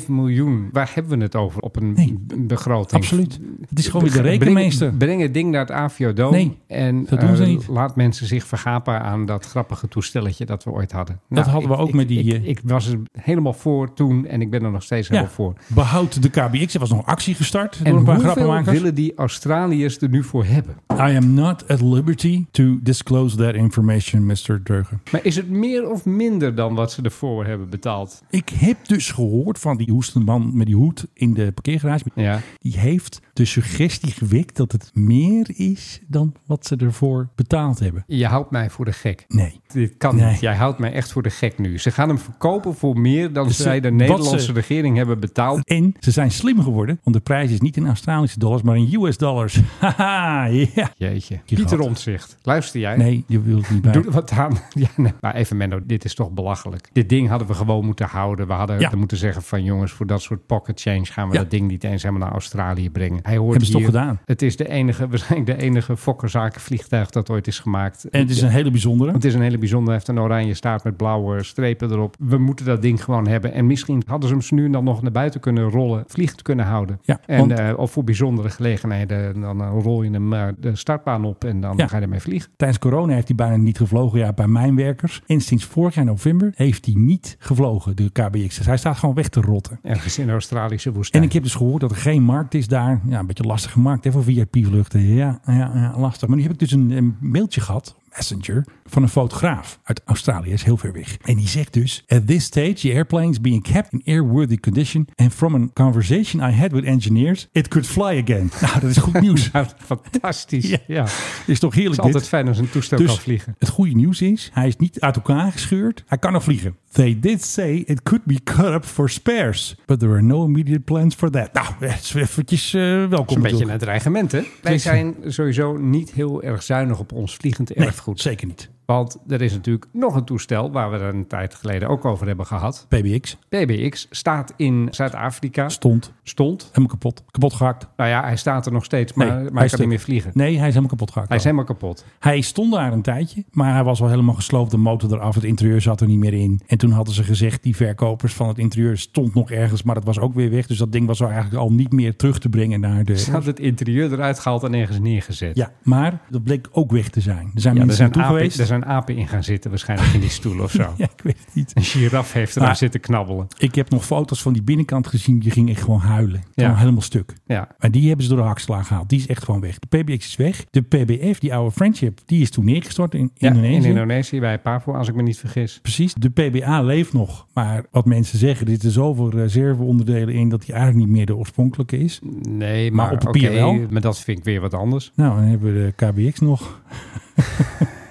Speaker 6: 3,7 miljoen. Waar hebben we het over op een
Speaker 5: Nee.
Speaker 6: b- begroting?
Speaker 5: Absoluut. Het is gewoon weer de
Speaker 6: Breng-
Speaker 5: rekenmeester.
Speaker 6: Breng, het ding naar het AVO-doom.
Speaker 5: Nee,
Speaker 6: en
Speaker 5: dat doen ze
Speaker 6: eh,
Speaker 5: niet.
Speaker 6: laat mensen zich vergapen aan dat grappige toestelletje dat we ooit hadden. Nou,
Speaker 5: hadden we
Speaker 6: ik-
Speaker 5: ook
Speaker 6: ik-
Speaker 5: met die,
Speaker 6: Ik,
Speaker 5: eh,
Speaker 6: ik was er helemaal voor toen en ik ben er nog steeds
Speaker 5: Ja,
Speaker 6: helemaal voor.
Speaker 5: behoud de KBX. Er was nog een actie gestart door
Speaker 6: En
Speaker 5: een paar
Speaker 6: hoeveel
Speaker 5: grappenmakers.
Speaker 6: willen die Australiërs er nu voor hebben?
Speaker 5: I am not at liberty to disclose that information, Mr. Durgen.
Speaker 6: Maar is het meer of minder dan wat ze ervoor hebben betaald?
Speaker 5: Ik heb dus gehoord van die hoestende man met die hoed in de parkeergarage.
Speaker 6: Ja.
Speaker 5: Die heeft de suggestie gewekt dat het meer is dan wat ze ervoor betaald hebben.
Speaker 6: Je houdt mij voor de gek.
Speaker 5: Nee.
Speaker 6: Dit kan
Speaker 5: Nee.
Speaker 6: niet. Jij houdt mij echt voor de gek nu. Ze gaan hem verkopen voor meer dan
Speaker 5: Dus ze-
Speaker 6: zij de
Speaker 5: wat
Speaker 6: Nederlandse
Speaker 5: ze-
Speaker 6: regering hebben betaald.
Speaker 5: En ze zijn slim geworden, want de prijs is niet in Australische dollars, maar in US dollars. [laughs] Haha, ja.
Speaker 6: Jeetje.
Speaker 5: Je
Speaker 6: Pieter
Speaker 5: gat.
Speaker 6: Omtzigt. Luister jij?
Speaker 5: Nee, je wilt het niet bij.
Speaker 6: Doe er wat aan. [laughs] Ja, nee. Maar even Menno, dit is toch belachelijk. Dit ding hadden we gewoon moeten houden. We hadden
Speaker 5: Ja.
Speaker 6: moeten zeggen van jongens, voor dat soort pocket change gaan we
Speaker 5: Ja.
Speaker 6: dat ding niet eens helemaal naar Australië brengen. Hij hoort
Speaker 5: Hebben ze
Speaker 6: hier.
Speaker 5: toch gedaan.
Speaker 6: Het is de enige, [laughs] waarschijnlijk de enige fokkerzakenvliegtuig dat ooit is gemaakt.
Speaker 5: En het is een hele bijzondere.
Speaker 6: Het is een hele bijzondere. Hij heeft een oranje staart met blauwe strepen erop. We moeten dat ding gewoon hebben. En misschien hadden ze hem zo nu en dan nog naar buiten kunnen rollen. Vliegend kunnen houden.
Speaker 5: Ja,
Speaker 6: en,
Speaker 5: want-
Speaker 6: eh, of voor bijzondere gelegenheden. Dan eh, rol je hem eh, de startbaan op en dan
Speaker 5: Ja.
Speaker 6: ga je ermee vliegen.
Speaker 5: Tijdens corona heeft hij bijna niet gevlogen. Ja, bij mijnwerkers. En sinds vorig jaar november heeft hij niet gevlogen, de KBX. Dus hij staat gewoon weg te rotten.
Speaker 6: Ergens in de Australische woestijn.
Speaker 5: En ik heb dus gehoord dat er geen markt is daar. Ja, een beetje lastig gemaakt hè, voor VIP-vluchten. Ja, ja, ja, lastig. Maar nu heb ik dus een, een mailtje gehad. Passenger van een fotograaf uit Australië, is heel ver weg. En die zegt dus: At this stage, the airplane is being kept in airworthy condition. And from a conversation I had with engineers, it could fly again. [laughs] Nou, dat is goed
Speaker 6: [laughs]
Speaker 5: nieuws.
Speaker 6: Nou, fantastisch.
Speaker 5: Ja.
Speaker 6: Ja.
Speaker 5: is toch
Speaker 6: Het is
Speaker 5: heerlijk dit?
Speaker 6: altijd fijn als een toestel
Speaker 5: Dus
Speaker 6: kan vliegen.
Speaker 5: het goede nieuws is, hij is niet uit elkaar gescheurd. Hij kan nog vliegen. They did say it could be cut up for spares. But there were no immediate plans for that. Nou, eh, is eventjes eh,
Speaker 6: Dat is
Speaker 5: welkom.
Speaker 6: een beetje
Speaker 5: terug.
Speaker 6: een dreigement, hè? Wij
Speaker 5: is-
Speaker 6: zijn sowieso niet heel erg zuinig op ons vliegend
Speaker 5: Nee,
Speaker 6: erfgoed.
Speaker 5: zeker niet.
Speaker 6: Want er is natuurlijk nog een toestel waar we er een tijd geleden ook over hebben gehad.
Speaker 5: PBX
Speaker 6: PBX staat in Zuid-Afrika.
Speaker 5: stond
Speaker 6: Stond.
Speaker 5: helemaal kapot. Kapot gehakt.
Speaker 6: Nou ja, hij staat er nog steeds, maar,
Speaker 5: Nee,
Speaker 6: maar
Speaker 5: hij
Speaker 6: hij
Speaker 5: is
Speaker 6: kan
Speaker 5: stuk.
Speaker 6: niet meer vliegen.
Speaker 5: Nee, hij is helemaal kapot gehakt.
Speaker 6: Hij is helemaal kapot.
Speaker 5: Hij stond daar een tijdje, maar hij was al helemaal gesloopt. De motor eraf, het interieur zat er niet meer in. En toen hadden ze gezegd, die verkopers van het interieur stond nog ergens, maar dat was ook weer weg. Dus dat ding was al eigenlijk al niet meer terug te brengen naar de...
Speaker 6: Ze had het interieur eruit gehaald en ergens neergezet.
Speaker 5: Ja, maar dat bleek ook weg te zijn. Er zijn
Speaker 6: Ja, er,
Speaker 5: mensen
Speaker 6: zijn
Speaker 5: naartoe
Speaker 6: apen,
Speaker 5: geweest.
Speaker 6: er zijn apen in gaan zitten, waarschijnlijk in die stoel of [laughs] zo.
Speaker 5: [laughs] Ja, ik weet het niet.
Speaker 6: Een giraf heeft er aan
Speaker 5: Maar-
Speaker 6: zitten knabbelen.
Speaker 5: Ik heb nog foto's van die binnenkant gezien. Die ging echt gewoon huilen.
Speaker 6: Ja.
Speaker 5: Gewoon helemaal stuk.
Speaker 6: Ja.
Speaker 5: Maar die hebben ze door de hakslaag gehaald. Die is echt gewoon weg. De PBX is weg. De PBF, die oude Friendship, die is toen neergestort in
Speaker 6: Ja,
Speaker 5: Indonesië.
Speaker 6: in Indonesië, bij Papua, als ik me niet vergis.
Speaker 5: Precies. De PBA leeft nog. Maar wat mensen zeggen, er zitten zoveel reserveonderdelen in dat die eigenlijk niet meer de oorspronkelijke is.
Speaker 6: Nee,
Speaker 5: Maar
Speaker 6: maar,
Speaker 5: op papier
Speaker 6: oké,
Speaker 5: wel.
Speaker 6: Maar dat vind ik weer wat anders.
Speaker 5: Nou, dan hebben we de KBX nog.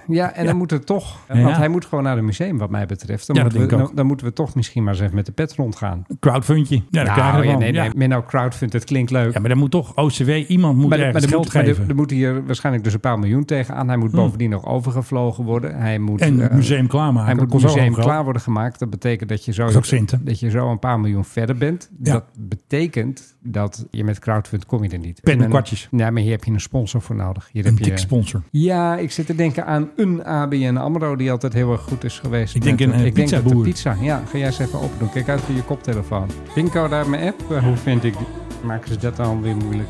Speaker 6: Ja, en dan moet het toch.
Speaker 5: Ja.
Speaker 6: Want hij moet gewoon naar het museum, wat mij betreft. Dan,
Speaker 5: Ja,
Speaker 6: moeten,
Speaker 5: dat
Speaker 6: we,
Speaker 5: denk ik
Speaker 6: dan, dan moeten we toch misschien maar eens even met de pet rondgaan.
Speaker 5: Crowdfundje. Ja, dat krijgen
Speaker 6: Nou,
Speaker 5: we
Speaker 6: ja,
Speaker 5: ja,
Speaker 6: nee, nee.
Speaker 5: ja.
Speaker 6: Menno Crowdfund, het klinkt leuk.
Speaker 5: Ja, maar dan moet toch OCW, iemand moet
Speaker 6: Maar, de- maar
Speaker 5: ergens
Speaker 6: er,
Speaker 5: geld
Speaker 6: moet, maar er-
Speaker 5: geven. Hmm.
Speaker 6: er moet hier waarschijnlijk dus een paar miljoen tegenaan. Hij moet bovendien nog overgevlogen worden. Hij moet,
Speaker 5: en het
Speaker 6: eh,
Speaker 5: museum klaarmaken.
Speaker 6: Hij moet
Speaker 5: Ah, Dat
Speaker 6: het
Speaker 5: kost ook
Speaker 6: museum
Speaker 5: geld.
Speaker 6: klaar worden gemaakt. Dat betekent dat je zo,
Speaker 5: is ook centen.
Speaker 6: dat je zo een paar miljoen verder bent.
Speaker 5: Ja.
Speaker 6: Dat betekent dat je met crowdfund kom je er niet.
Speaker 5: Pen en
Speaker 6: Met een-
Speaker 5: kwartjes.
Speaker 6: Nee, maar hier heb je een sponsor voor nodig. Hier
Speaker 5: Een
Speaker 6: heb je,
Speaker 5: dik sponsor.
Speaker 6: ja, ik zit te denken aan een ABN AMRO die altijd heel erg goed is geweest.
Speaker 5: Ik denk
Speaker 6: met
Speaker 5: een,
Speaker 6: het-
Speaker 5: eh,
Speaker 6: ik denk dat de
Speaker 5: pizzaboer.
Speaker 6: pizza. Ja, ga jij eens even open doen. Kijk uit voor je koptelefoon. Pincode uit mijn app. Eh, Hoe vind ik die? Maken ze dat dan weer moeilijk?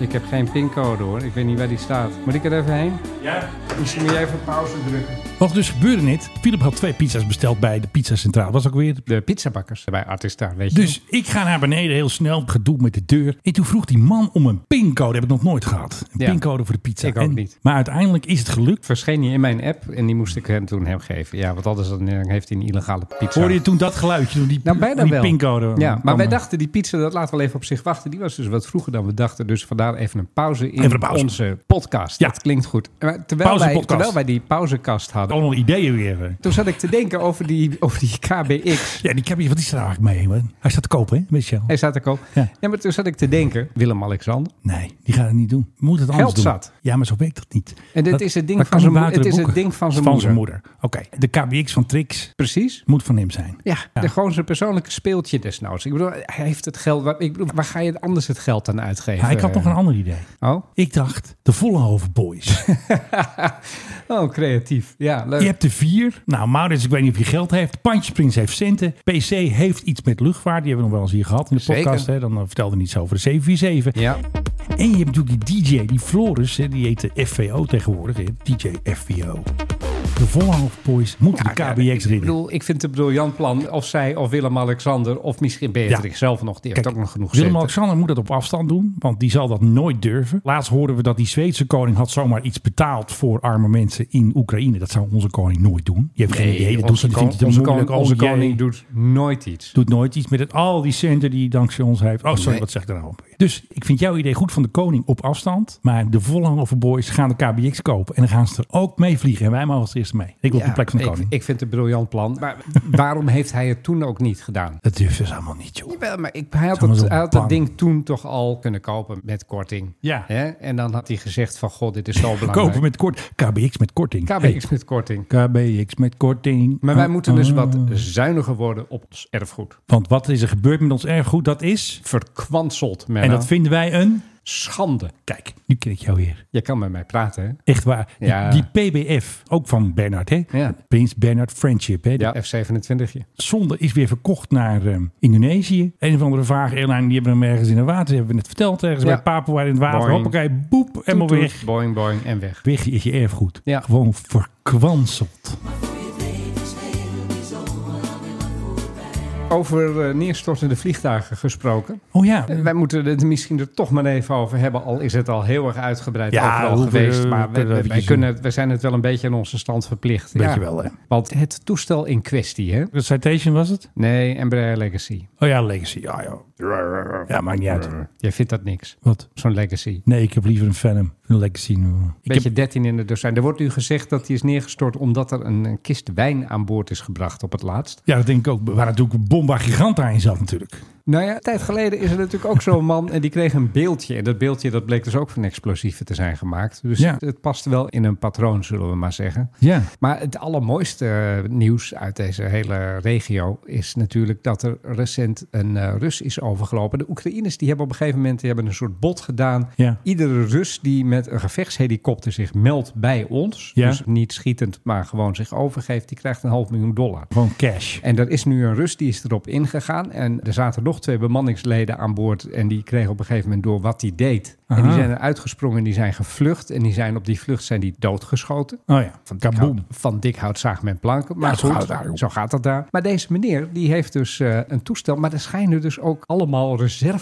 Speaker 6: Ik heb geen pincode hoor. Ik weet niet waar die staat. Moet ik er even heen? Ja. Misschien moet jij even pauze drukken.
Speaker 5: Wat er dus gebeurde net, Philip had twee pizza's besteld bij de pizzacentraal. Dat was ook weer...
Speaker 6: De pizzabakkers bij Artista, weet je wel.
Speaker 5: Dus ik ga naar beneden heel snel, gedoe met de deur. En toen vroeg die man om een pincode. Heb ik nog nooit gehad. Een
Speaker 6: Ja.
Speaker 5: pincode voor de pizza.
Speaker 6: Ik ook
Speaker 5: En-
Speaker 6: niet.
Speaker 5: Maar uiteindelijk is het gelukt.
Speaker 6: verscheen hij in mijn app en die moest ik hem toen hem geven. Ja, want anders dan eh, heeft hij een illegale pizza.
Speaker 5: Hoorde je toen dat geluidje? Toen die,
Speaker 6: nou, bijna
Speaker 5: die
Speaker 6: wel.
Speaker 5: pincode.
Speaker 6: Ja, maar
Speaker 5: kwam
Speaker 6: wij
Speaker 5: er.
Speaker 6: dachten die pizza, dat laten we wel even op zich wachten. Die was dus wat vroeger dan we dachten. Dus vandaar even een pauze in
Speaker 5: Even een pauze.
Speaker 6: onze podcast.
Speaker 5: Ja.
Speaker 6: Dat klinkt goed. Maar terwijl,
Speaker 5: Pauze
Speaker 6: wij,
Speaker 5: podcast. Oh.
Speaker 6: terwijl wij die pauzekast hadden,
Speaker 5: Allemaal ideeën weer.
Speaker 6: toen zat ik te denken over die, over die KBX.
Speaker 5: Ja, die KBX, wat is er eigenlijk mee? man? Hij staat te kopen, hè? Weet je wel?
Speaker 6: Hij staat er ook.
Speaker 5: Ja.
Speaker 6: Ja. maar toen zat ik te denken, Willem-Alexander.
Speaker 5: Nee, die gaat het niet doen. Moet het anders
Speaker 6: Geld
Speaker 5: doen.
Speaker 6: zat.
Speaker 5: Ja, maar zo weet dat niet.
Speaker 6: En dit
Speaker 5: dat,
Speaker 6: is het ding
Speaker 5: dat
Speaker 6: van
Speaker 5: kan
Speaker 6: zijn
Speaker 5: niet
Speaker 6: mo- het
Speaker 5: buiten de
Speaker 6: is het
Speaker 5: boeken.
Speaker 6: ding van zijn
Speaker 5: moeder. Oké, de KBX van Trix
Speaker 6: Precies.
Speaker 5: moet van hem zijn.
Speaker 6: Ja, de- gewoon zijn persoonlijke speeltje desnoods. Ik bedoel, hij heeft het geld. waar- Ik bedoel, waar ga je anders het geld aan uitgeven?
Speaker 5: Ja, ik had nog een ander idee.
Speaker 6: Oh?
Speaker 5: Ik dacht, de Vollenhoven Boys.
Speaker 6: [laughs] Oh, creatief. Ja, leuk.
Speaker 5: Je hebt de vier. Nou, Maurits, ik weet niet of je geld heeft. Pandjesprins heeft centen. PC heeft iets met luchtvaart. Die hebben we nog wel eens hier gehad in de
Speaker 6: Zeker.
Speaker 5: podcast. Hè? Dan eh, vertelde hij iets over de 747.
Speaker 6: Ja,
Speaker 5: En je hebt natuurlijk die DJ, die Floris. Hè? Die heet de FVO tegenwoordig. Hè? DJ FVO. De Vollenhoven Boys moeten
Speaker 6: Ja,
Speaker 5: de KBX
Speaker 6: ik
Speaker 5: ridden.
Speaker 6: bedoel, ik vind het een briljant plan. Of zij, of Willem-Alexander, of misschien Beatrix
Speaker 5: Ja.
Speaker 6: zelf nog. Die heeft
Speaker 5: Kijk,
Speaker 6: ook nog genoeg centen.
Speaker 5: Willem-Alexander moet dat op afstand doen, want die zal dat nooit durven. Laatst hoorden we dat die Zweedse koning had zomaar iets betaald voor arme mensen in Oekraïne. Dat zou onze koning nooit doen. Je hebt geen
Speaker 6: Nee,
Speaker 5: idee. Dat doet
Speaker 6: onze
Speaker 5: ze, die
Speaker 6: kon-
Speaker 5: vindt het te
Speaker 6: onze
Speaker 5: moeilijk.
Speaker 6: kon- onze
Speaker 5: Oh, jee.
Speaker 6: koning doet nooit iets.
Speaker 5: doet nooit iets met het, al die centen die hij dankzij ons heeft. Oh, sorry,
Speaker 6: Nee.
Speaker 5: wat zeg ik daar nou op? Dus ik vind jouw idee goed van de koning op afstand. Maar de Vollenhoven Boys gaan de KBX kopen. En dan gaan ze er ook mee vliegen. En wij mogen als eerste mee. Ik wil op de
Speaker 6: Ja,
Speaker 5: plek van de
Speaker 6: ik,
Speaker 5: koning.
Speaker 6: ik vind het een briljant plan. Maar waarom heeft hij het toen ook niet gedaan?
Speaker 5: Dat durven ze allemaal niet, joh.
Speaker 6: Jawel, maar ik, hij had,
Speaker 5: Zeg maar
Speaker 6: het,
Speaker 5: zo
Speaker 6: hij had dat
Speaker 5: bang.
Speaker 6: ding toen toch al kunnen kopen met korting.
Speaker 5: Ja.
Speaker 6: Hè? En dan had hij gezegd van, god, dit is [laughs] zo belangrijk.
Speaker 5: Kopen met kort. KBX met korting.
Speaker 6: KBX met korting.
Speaker 5: Hey, KBX met korting.
Speaker 6: Maar wij
Speaker 5: Ah,
Speaker 6: moeten dus
Speaker 5: ah.
Speaker 6: wat zuiniger worden op ons erfgoed.
Speaker 5: Want wat is er gebeurd met ons erfgoed? Dat is.
Speaker 6: Verkwanseld,
Speaker 5: En dat vinden wij een.
Speaker 6: schande.
Speaker 5: Kijk, nu ken ik jou weer.
Speaker 6: Je kan met mij praten, hè?
Speaker 5: Echt waar. Die-
Speaker 6: Ja.
Speaker 5: Die, PBF, ook van Bernard, hè?
Speaker 6: Ja.
Speaker 5: Prins Bernard Friendship, hè?
Speaker 6: Ja, F27.
Speaker 5: zonde is weer verkocht naar ehm, Indonesië. Een of andere vage airline, die hebben hem ergens in het water. Die hebben we net verteld, ergens
Speaker 6: Ja.
Speaker 5: bij Papua in het water.
Speaker 6: Boing.
Speaker 5: Hoppakee, boep, helemaal
Speaker 6: Toet, toet,
Speaker 5: weg.
Speaker 6: Boing, boing en weg.
Speaker 5: Weg is je erfgoed.
Speaker 6: Ja.
Speaker 5: Gewoon verkwanseld.
Speaker 6: Over eh, neerstortende vliegtuigen gesproken.
Speaker 5: Oh ja.
Speaker 6: Eh, Wij moeten het misschien er toch maar even over hebben, al is het al heel erg uitgebreid
Speaker 5: Ja,
Speaker 6: overal
Speaker 5: hoeven-
Speaker 6: geweest. Maar
Speaker 5: kunnen
Speaker 6: we,
Speaker 5: we
Speaker 6: we- wij
Speaker 5: eventjes
Speaker 6: kunnen, het- we zijn het wel een beetje aan onze stand verplicht.
Speaker 5: Weet
Speaker 6: Ja.
Speaker 5: je wel, hè?
Speaker 6: Want het toestel in kwestie, hè?
Speaker 5: De Citation was het?
Speaker 6: Nee, Embraer Legacy.
Speaker 5: Oh ja, Legacy. Ja, ja. ja maakt niet uit.
Speaker 6: Jij vindt dat niks,
Speaker 5: Wat?
Speaker 6: zo'n Legacy.
Speaker 5: Nee, ik heb liever een Phantom. Een Legacy. nu. Ik
Speaker 6: Beetje
Speaker 5: heb,
Speaker 6: 13 in de dozijn. Er wordt nu gezegd dat die is neergestort omdat er een, een kist wijn aan boord is gebracht op het laatst.
Speaker 5: ja, dat denk ik ook. Waar natuurlijk Bomba Giganta in zat natuurlijk.
Speaker 6: Nou ja, een tijd geleden is er natuurlijk ook zo'n man en die kreeg een beeldje. En dat beeldje dat bleek dus ook van explosieven te zijn gemaakt. Dus
Speaker 5: Ja.
Speaker 6: het, het past wel in een patroon, zullen we maar zeggen.
Speaker 5: Ja.
Speaker 6: Maar het allermooiste eh, nieuws uit deze hele regio is natuurlijk dat er recent een eh, Rus is overgelopen. De Oekraïners die hebben op een gegeven moment die hebben een soort bot gedaan.
Speaker 5: Ja.
Speaker 6: Iedere Rus die met een gevechtshelikopter zich meldt bij ons,
Speaker 5: Ja.
Speaker 6: dus niet schietend, maar gewoon zich overgeeft, die krijgt een half miljoen dollar.
Speaker 5: Gewoon cash.
Speaker 6: En er is nu een Rus die is erop ingegaan. En er zaten nog twee bemanningsleden aan boord. En die kregen op een gegeven moment door wat hij deed. En
Speaker 5: Aha.
Speaker 6: die zijn er uitgesprongen en die zijn gevlucht. En die zijn op die vlucht zijn die doodgeschoten.
Speaker 5: Oh ja. Van
Speaker 6: Dik hout-
Speaker 5: Kaboom.
Speaker 6: Van dik hout zaagt men planken. Maar
Speaker 5: Ja, zo
Speaker 6: goed,
Speaker 5: gaat het daar, joh.
Speaker 6: zo gaat dat daar. Maar deze meneer, die heeft dus eh, een toestel. Maar er schijnen dus ook allemaal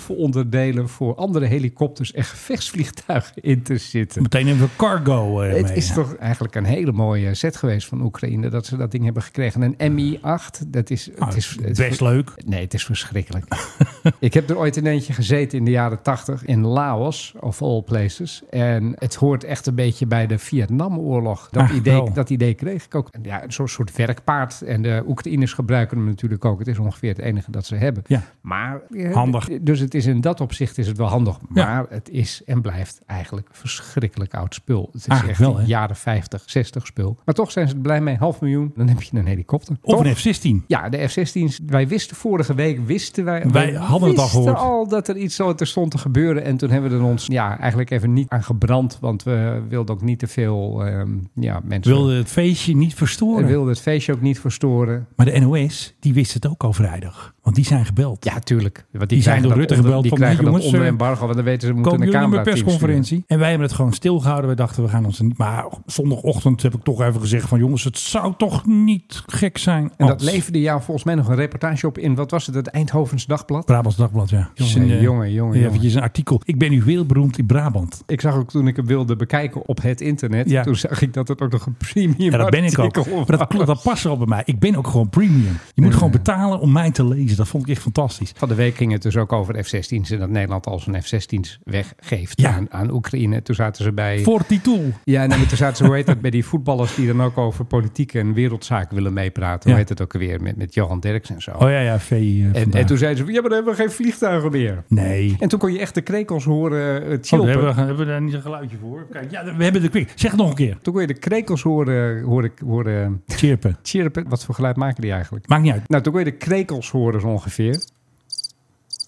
Speaker 6: reserveonderdelen... voor andere helikopters en gevechtsvliegtuigen in te zitten.
Speaker 5: Meteen even cargo eh,
Speaker 6: Het
Speaker 5: mee.
Speaker 6: is toch eigenlijk een hele mooie set geweest van Oekraïne... dat ze dat ding hebben gekregen. Een Mi-8, dat is...
Speaker 5: Ah,
Speaker 6: het is het
Speaker 5: best leuk.
Speaker 6: Nee, het is verschrikkelijk. [laughs] ik heb er ooit in eentje gezeten in de jaren tachtig in Laos, of all places. En het hoort echt een beetje bij de Vietnamoorlog. Dat,
Speaker 5: Ach, Ah, wel.
Speaker 6: idee, dat idee kreeg ik ook. En Ja, een soort, soort werkpaard. En de Oekraïners gebruiken hem natuurlijk ook. Het is ongeveer het enige dat ze hebben.
Speaker 5: Ja.
Speaker 6: Maar, eh,
Speaker 5: Handig.
Speaker 6: d- Dus het is in dat opzicht is het wel handig.
Speaker 5: Ja.
Speaker 6: Maar het is en blijft eigenlijk verschrikkelijk oud spul. Het is
Speaker 5: Eigenlijk
Speaker 6: echt
Speaker 5: wel, hè?
Speaker 6: jaren 50, 60 spul. Maar toch zijn ze er blij mee. Half miljoen, dan heb je een helikopter.
Speaker 5: Of
Speaker 6: Toch?
Speaker 5: een F-16.
Speaker 6: Ja, de F-16's. Wij wisten vorige week, wisten wij...
Speaker 5: Wij hadden het al
Speaker 6: wisten
Speaker 5: gehoord.
Speaker 6: al dat er iets zo te stond te gebeuren. En toen hebben we er ons ja, eigenlijk even niet aan gebrand. Want we wilden ook niet te veel ehm, ja, mensen...
Speaker 5: Wilde het feestje niet
Speaker 6: we
Speaker 5: verstoren.
Speaker 6: wilden het feestje ook niet verstoren.
Speaker 5: Maar de NOS, die wist het ook al vrijdag. Want die zijn gebeld.
Speaker 6: Ja, tuurlijk. Want
Speaker 5: Die zijn
Speaker 6: krijgen
Speaker 5: door
Speaker 6: dat
Speaker 5: Rutte
Speaker 6: onder-
Speaker 5: gebeld
Speaker 6: Die
Speaker 5: van,
Speaker 6: krijgen
Speaker 5: die
Speaker 6: dat
Speaker 5: jongens,
Speaker 6: onder
Speaker 5: eh,
Speaker 6: embargo. Want dan weten ze, we moeten
Speaker 5: Komen
Speaker 6: een
Speaker 5: jullie
Speaker 6: camera
Speaker 5: met persconferentie? En wij hebben het gewoon stilgehouden. We dachten, we gaan ons er niet... Maar zondagochtend heb ik toch even gezegd van... jongens, het zou toch niet gek zijn
Speaker 6: En dat
Speaker 5: als-
Speaker 6: leverde jou volgens mij nog een reportage op in... Wat was het? Het Eindhovens Dagblad?
Speaker 5: Brabants Dagblad, ja.
Speaker 6: Jongen,
Speaker 5: Is een, eh,
Speaker 6: jongen, jongen,
Speaker 5: ja,
Speaker 6: jongen.
Speaker 5: Eventjes een artikel. Ik ben nu wereldberoemd in Brabant.
Speaker 6: Ik zag ook toen ik hem wilde bekijken op het internet.
Speaker 5: Ja.
Speaker 6: Toen zag ik dat het ook nog een premium
Speaker 5: Ja, dat ben ik ook.
Speaker 6: artikel
Speaker 5: Maar dat, klopt, dat past wel bij mij. Ik ben ook gewoon premium. Je moet gewoon betalen om mij te lezen. Dat vond ik echt fantastisch.
Speaker 6: Van de week ging het dus ook over F-16's en dat Nederland al zijn F-16's weggeeft
Speaker 5: Ja.
Speaker 6: aan, aan Oekraïne. Toen zaten ze bij.
Speaker 5: Voor titel.
Speaker 6: Ja, nee, maar toen zaten ze, hoe heet dat, bij die voetballers die dan ook over politiek en wereldzaken willen meepraten.
Speaker 5: Ja.
Speaker 6: Hoe heet het ook weer met, met Johan Derksen en zo.
Speaker 5: Oh ja, ja, V. eh,
Speaker 6: en,
Speaker 5: vandaag.
Speaker 6: en toen zeiden ze, ja, maar dan hebben we geen vliegtuigen meer.
Speaker 5: Nee.
Speaker 6: En toen kon je echt de krekels horen eh,
Speaker 5: Oh, daar
Speaker 6: chilpen.
Speaker 5: hebben, we, hebben we daar niet een geluidje voor? Kijk, ja, we hebben de quick. Zeg het nog een keer.
Speaker 6: Toen kon je de krekels horen, horen, horen eh,
Speaker 5: Chirpen.
Speaker 6: chirpen. Wat voor geluid maken die eigenlijk?
Speaker 5: Maakt niet uit.
Speaker 6: Nou, toen kon je de krekels horen zo ongeveer.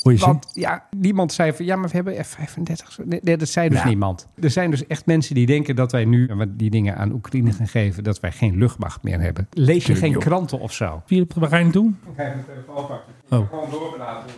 Speaker 5: Hoor je ze?
Speaker 6: Want ja, niemand zei van ja, maar we hebben F-35. Nee, nee, dat zei dus
Speaker 5: Ja.
Speaker 6: niemand. Er zijn dus echt mensen die denken dat wij nu, want die dingen aan Oekraïne gaan geven, dat wij geen luchtmacht meer hebben. Lees je geen kranten of zo?
Speaker 5: Philip, Waar ga je naartoe? Oh.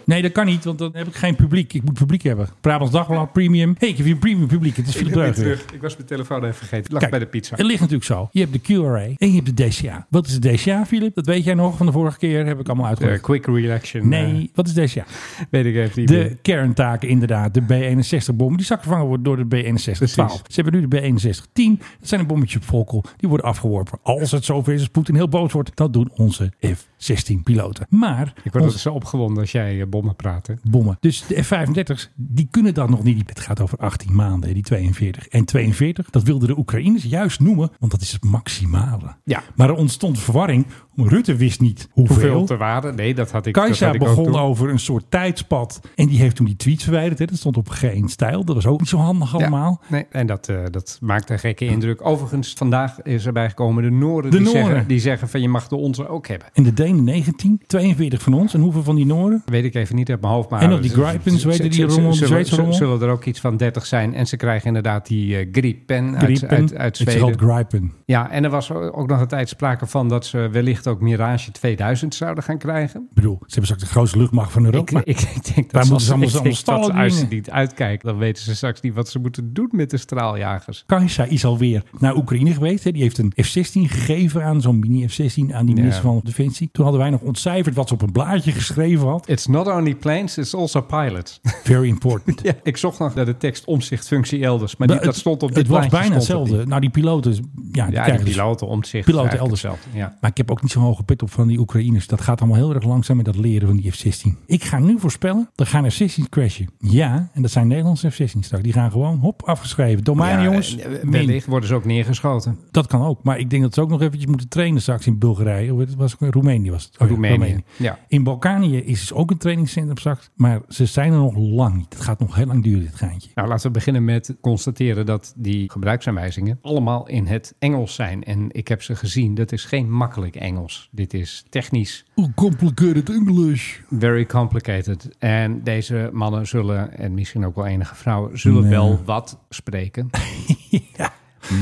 Speaker 5: Nee, dat kan niet, want dan heb ik geen publiek. Ik moet publiek hebben. Brabants Dagblad, premium. hey, ik heb hier premium publiek. Het is Philip Dreuger.
Speaker 6: Ik was mijn telefoon even vergeten. lag
Speaker 5: Kijk.
Speaker 6: bij de pizza.
Speaker 5: Het ligt natuurlijk zo. Je hebt de QRA en je hebt de DCA. Wat is de DCA, Philip? Dat weet jij nog van de vorige keer. Heb ik allemaal uitgelegd.
Speaker 6: quick reaction.
Speaker 5: Nee, wat is DCA?
Speaker 6: eh, weet ik even niet.
Speaker 5: De kerntaken inderdaad. De B61-bom. Die zak vervangen wordt door de B61-12. Ze
Speaker 6: Precies.
Speaker 5: hebben nu de B61-10. Dat zijn een bommetje op Volkel. Die worden afgeworpen. Als het zover is als Poetin heel boos wordt. Dat doen onze F-16-piloten. Maar
Speaker 6: Ik
Speaker 5: onze
Speaker 6: word altijd zo opgewonden als jij eh, bommen praat. hè.
Speaker 5: bommen. Dus de F-35's, die kunnen dat nog niet. Het gaat over 18 maanden, die 42. En 42, dat wilden de Oekraïners juist noemen, want dat is het maximale.
Speaker 6: Ja.
Speaker 5: Maar er ontstond verwarring. Rutte wist niet hoeveel.
Speaker 6: Hoeveel te waren? Nee, dat had ik. dat
Speaker 5: Kajsa
Speaker 6: had ik ook
Speaker 5: begon
Speaker 6: toen.
Speaker 5: over een soort tijdspad. En die heeft toen die tweets verwijderd. Hè. Dat stond op geen stijl. Dat was ook niet zo handig
Speaker 6: Ja,
Speaker 5: allemaal.
Speaker 6: nee, en dat, eh, dat maakt een gekke indruk. Overigens, vandaag is erbij gekomen de Noorden,
Speaker 5: De
Speaker 6: die,
Speaker 5: Noorden.
Speaker 6: Zeggen, die zeggen van je mag de onze ook hebben.
Speaker 5: En de Denen 19, 42 van ons. En hoeveel van die Noorden?
Speaker 6: Weet ik even niet uit mijn hoofd, maar...
Speaker 5: En nog die Gripens, weet je, die
Speaker 6: Zullen-
Speaker 5: rommel, die
Speaker 6: zullen-
Speaker 5: Zweedse rommel?
Speaker 6: Zullen er ook iets van 30 zijn. En ze krijgen inderdaad die eh Gripen, uit,
Speaker 5: Gripen.
Speaker 6: uit, uit
Speaker 5: Ik zeg altijd
Speaker 6: Zweden.
Speaker 5: Gripen.
Speaker 6: Ja, en er was ook nog een tijd sprake van dat ze wellicht ook Mirage 2000 zouden gaan krijgen.
Speaker 5: Ik bedoel, ze hebben straks de grootste luchtmacht van
Speaker 6: Ik,
Speaker 5: Europa.
Speaker 6: ik, [laughs] ik denk
Speaker 5: Wij
Speaker 6: dat ze,
Speaker 5: moeten ze allemaal-
Speaker 6: ik denk
Speaker 5: allemaal stallen
Speaker 6: dat ze als ze
Speaker 5: dienen.
Speaker 6: niet uitkijken, dan weten ze straks niet wat ze moeten doen met de straaljagers.
Speaker 5: Kajsa is alweer naar Oekraïne geweest. Hè. Die heeft een F-16 gegeven aan zo'n mini F-16 aan die
Speaker 6: Ja.
Speaker 5: minister van Defensie. Toen hadden wij nog ontcijferd wat ze op een blaadje geschreven had.
Speaker 6: It's not only planes, it's also pilots.
Speaker 5: Very important.
Speaker 6: ja, ik zocht nog naar [laughs] de tekst omzichtfunctie elders, maar die, dat stond op dit
Speaker 5: Het was
Speaker 6: plaatje,
Speaker 5: bijna
Speaker 6: stond het
Speaker 5: hetzelfde. Nou, die piloten, ja, die
Speaker 6: niet. Ja,
Speaker 5: krijgen
Speaker 6: die
Speaker 5: dus-
Speaker 6: piloten omzicht.
Speaker 5: Piloten
Speaker 6: eigenlijk
Speaker 5: elders.
Speaker 6: hetzelfde, Ja.
Speaker 5: Maar ik heb ook niet zo'n hoge pit op van die Oekraïners. Dat gaat allemaal heel erg langzaam met dat leren van die F-16. Ik ga nu voorspellen, er gaan F-16 crashen. Ja, en dat zijn Nederlandse F-16 straks. Die gaan gewoon, hop, afgeschreven. Domein,
Speaker 6: Ja,
Speaker 5: jongens. Oh
Speaker 6: eh,
Speaker 5: min.
Speaker 6: Wellicht worden ze ook neergeschoten.
Speaker 5: Dat kan ook. Maar ik denk dat ze ook nog eventjes moeten trainen straks in Bulgarije. Of het was Roemenië was het. Oh ja,
Speaker 6: Roemenië, ja.
Speaker 5: In Balkanië is dus ook een trainingscentrum straks. Maar ze zijn er nog lang niet. Het gaat nog heel lang duren, dit geintje.
Speaker 6: Nou, laten we beginnen met constateren dat die gebruiksaanwijzingen allemaal in het Engels zijn. En ik heb ze gezien, dat is geen makkelijk Engels. Dit is technisch
Speaker 5: Complicated English.
Speaker 6: Very complicated. En deze mannen zullen, en misschien ook wel enige vrouwen, zullen
Speaker 5: Nee.
Speaker 6: wel wat
Speaker 5: [laughs]
Speaker 6: spreken.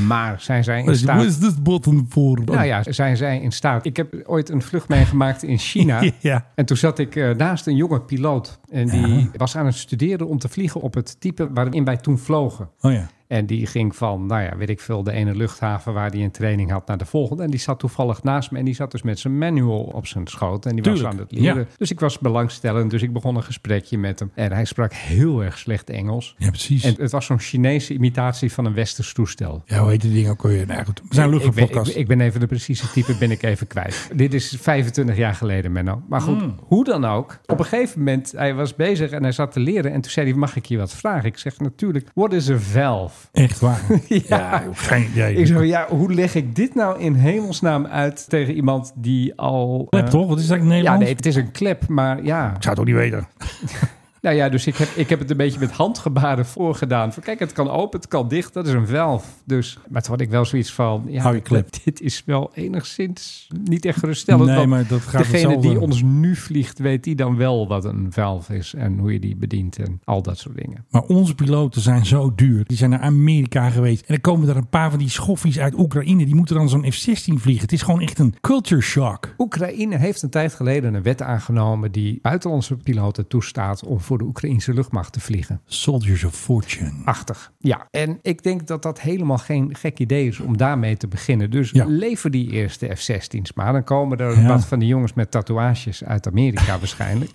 Speaker 6: Maar zijn zij in
Speaker 5: What
Speaker 6: staat.
Speaker 5: Oh, is this button voor?
Speaker 6: Nou ja, zijn zij in staat. Ik heb ooit een vlucht meegemaakt in
Speaker 5: [laughs]
Speaker 6: China.
Speaker 5: [laughs] Ja.
Speaker 6: En toen zat ik eh, naast een jonge piloot. En die was aan het studeren om te vliegen op het type waarin wij toen vlogen.
Speaker 5: Oh ja.
Speaker 6: En die ging van, nou ja, weet ik veel, de ene luchthaven waar hij een training had naar de volgende. En die zat toevallig naast me en die zat dus met zijn manual op zijn schoot. En die was
Speaker 5: Tuurlijk,
Speaker 6: aan het leren.
Speaker 5: ja.
Speaker 6: Dus ik was belangstellend, dus ik begon een gesprekje met hem. En hij sprak heel erg slecht Engels.
Speaker 5: Ja, precies.
Speaker 6: En het was zo'n Chinese imitatie van een westers toestel.
Speaker 5: Ja, hoe heet die ding ook alweer? Nou, goed. We zijn
Speaker 6: Ik- ik, ben-
Speaker 5: luchtvaartpodcast.
Speaker 6: ik, ik ben even de precieze type, ben ik even
Speaker 5: [laughs]
Speaker 6: kwijt. Dit is 25 jaar geleden, Menno. Maar goed,
Speaker 5: Mm.
Speaker 6: hoe dan ook. Op een gegeven moment, hij was bezig en hij zat te leren. En toen zei hij, mag ik je wat vragen? Ik zeg natuurlijk, what is a
Speaker 5: [laughs]
Speaker 6: valve?
Speaker 5: Echt
Speaker 6: [laughs]
Speaker 5: waar. ja. joh, geen idee.
Speaker 6: Ik zo, ja, hoe leg ik dit nou in hemelsnaam uit tegen iemand die al...
Speaker 5: Klep
Speaker 6: eh,
Speaker 5: toch? Wat is dat in
Speaker 6: Ja,
Speaker 5: Nederland?
Speaker 6: nee, het is een klep, maar ja.
Speaker 5: zou het ook niet weten.
Speaker 6: Nou ja, dus ik heb, ik heb het een beetje met handgebaren voorgedaan. Van, kijk, het kan open, het kan dicht, dat is een velf. Dus, maar toen had ik wel zoiets van... Ja,
Speaker 5: Hou je klep.
Speaker 6: Dit is wel enigszins niet echt geruststellend.
Speaker 5: Nee,
Speaker 6: want
Speaker 5: maar dat gaat
Speaker 6: Degene
Speaker 5: hetzelfde-
Speaker 6: die ons nu vliegt, weet die dan wel wat een velf is... en hoe je die bedient en al dat soort dingen.
Speaker 5: Maar onze piloten zijn zo duur. Die zijn naar Amerika geweest. En dan komen er een paar van die schoffies uit Oekraïne. Die moeten dan zo'n F-16 vliegen. Het is gewoon echt een culture shock.
Speaker 6: Oekraïne heeft een tijd geleden een wet aangenomen... die buitenlandse piloten toestaat om voor de Oekraïnse luchtmacht te vliegen.
Speaker 5: Soldiers of Fortune.
Speaker 6: Achtig. Ja, en ik denk dat dat helemaal geen gek idee is om daarmee te beginnen. Dus
Speaker 5: Ja.
Speaker 6: lever die eerste F-16's maar. Dan komen er
Speaker 5: Ja.
Speaker 6: wat van die jongens met tatoeages uit
Speaker 5: [laughs]
Speaker 6: Amerika waarschijnlijk.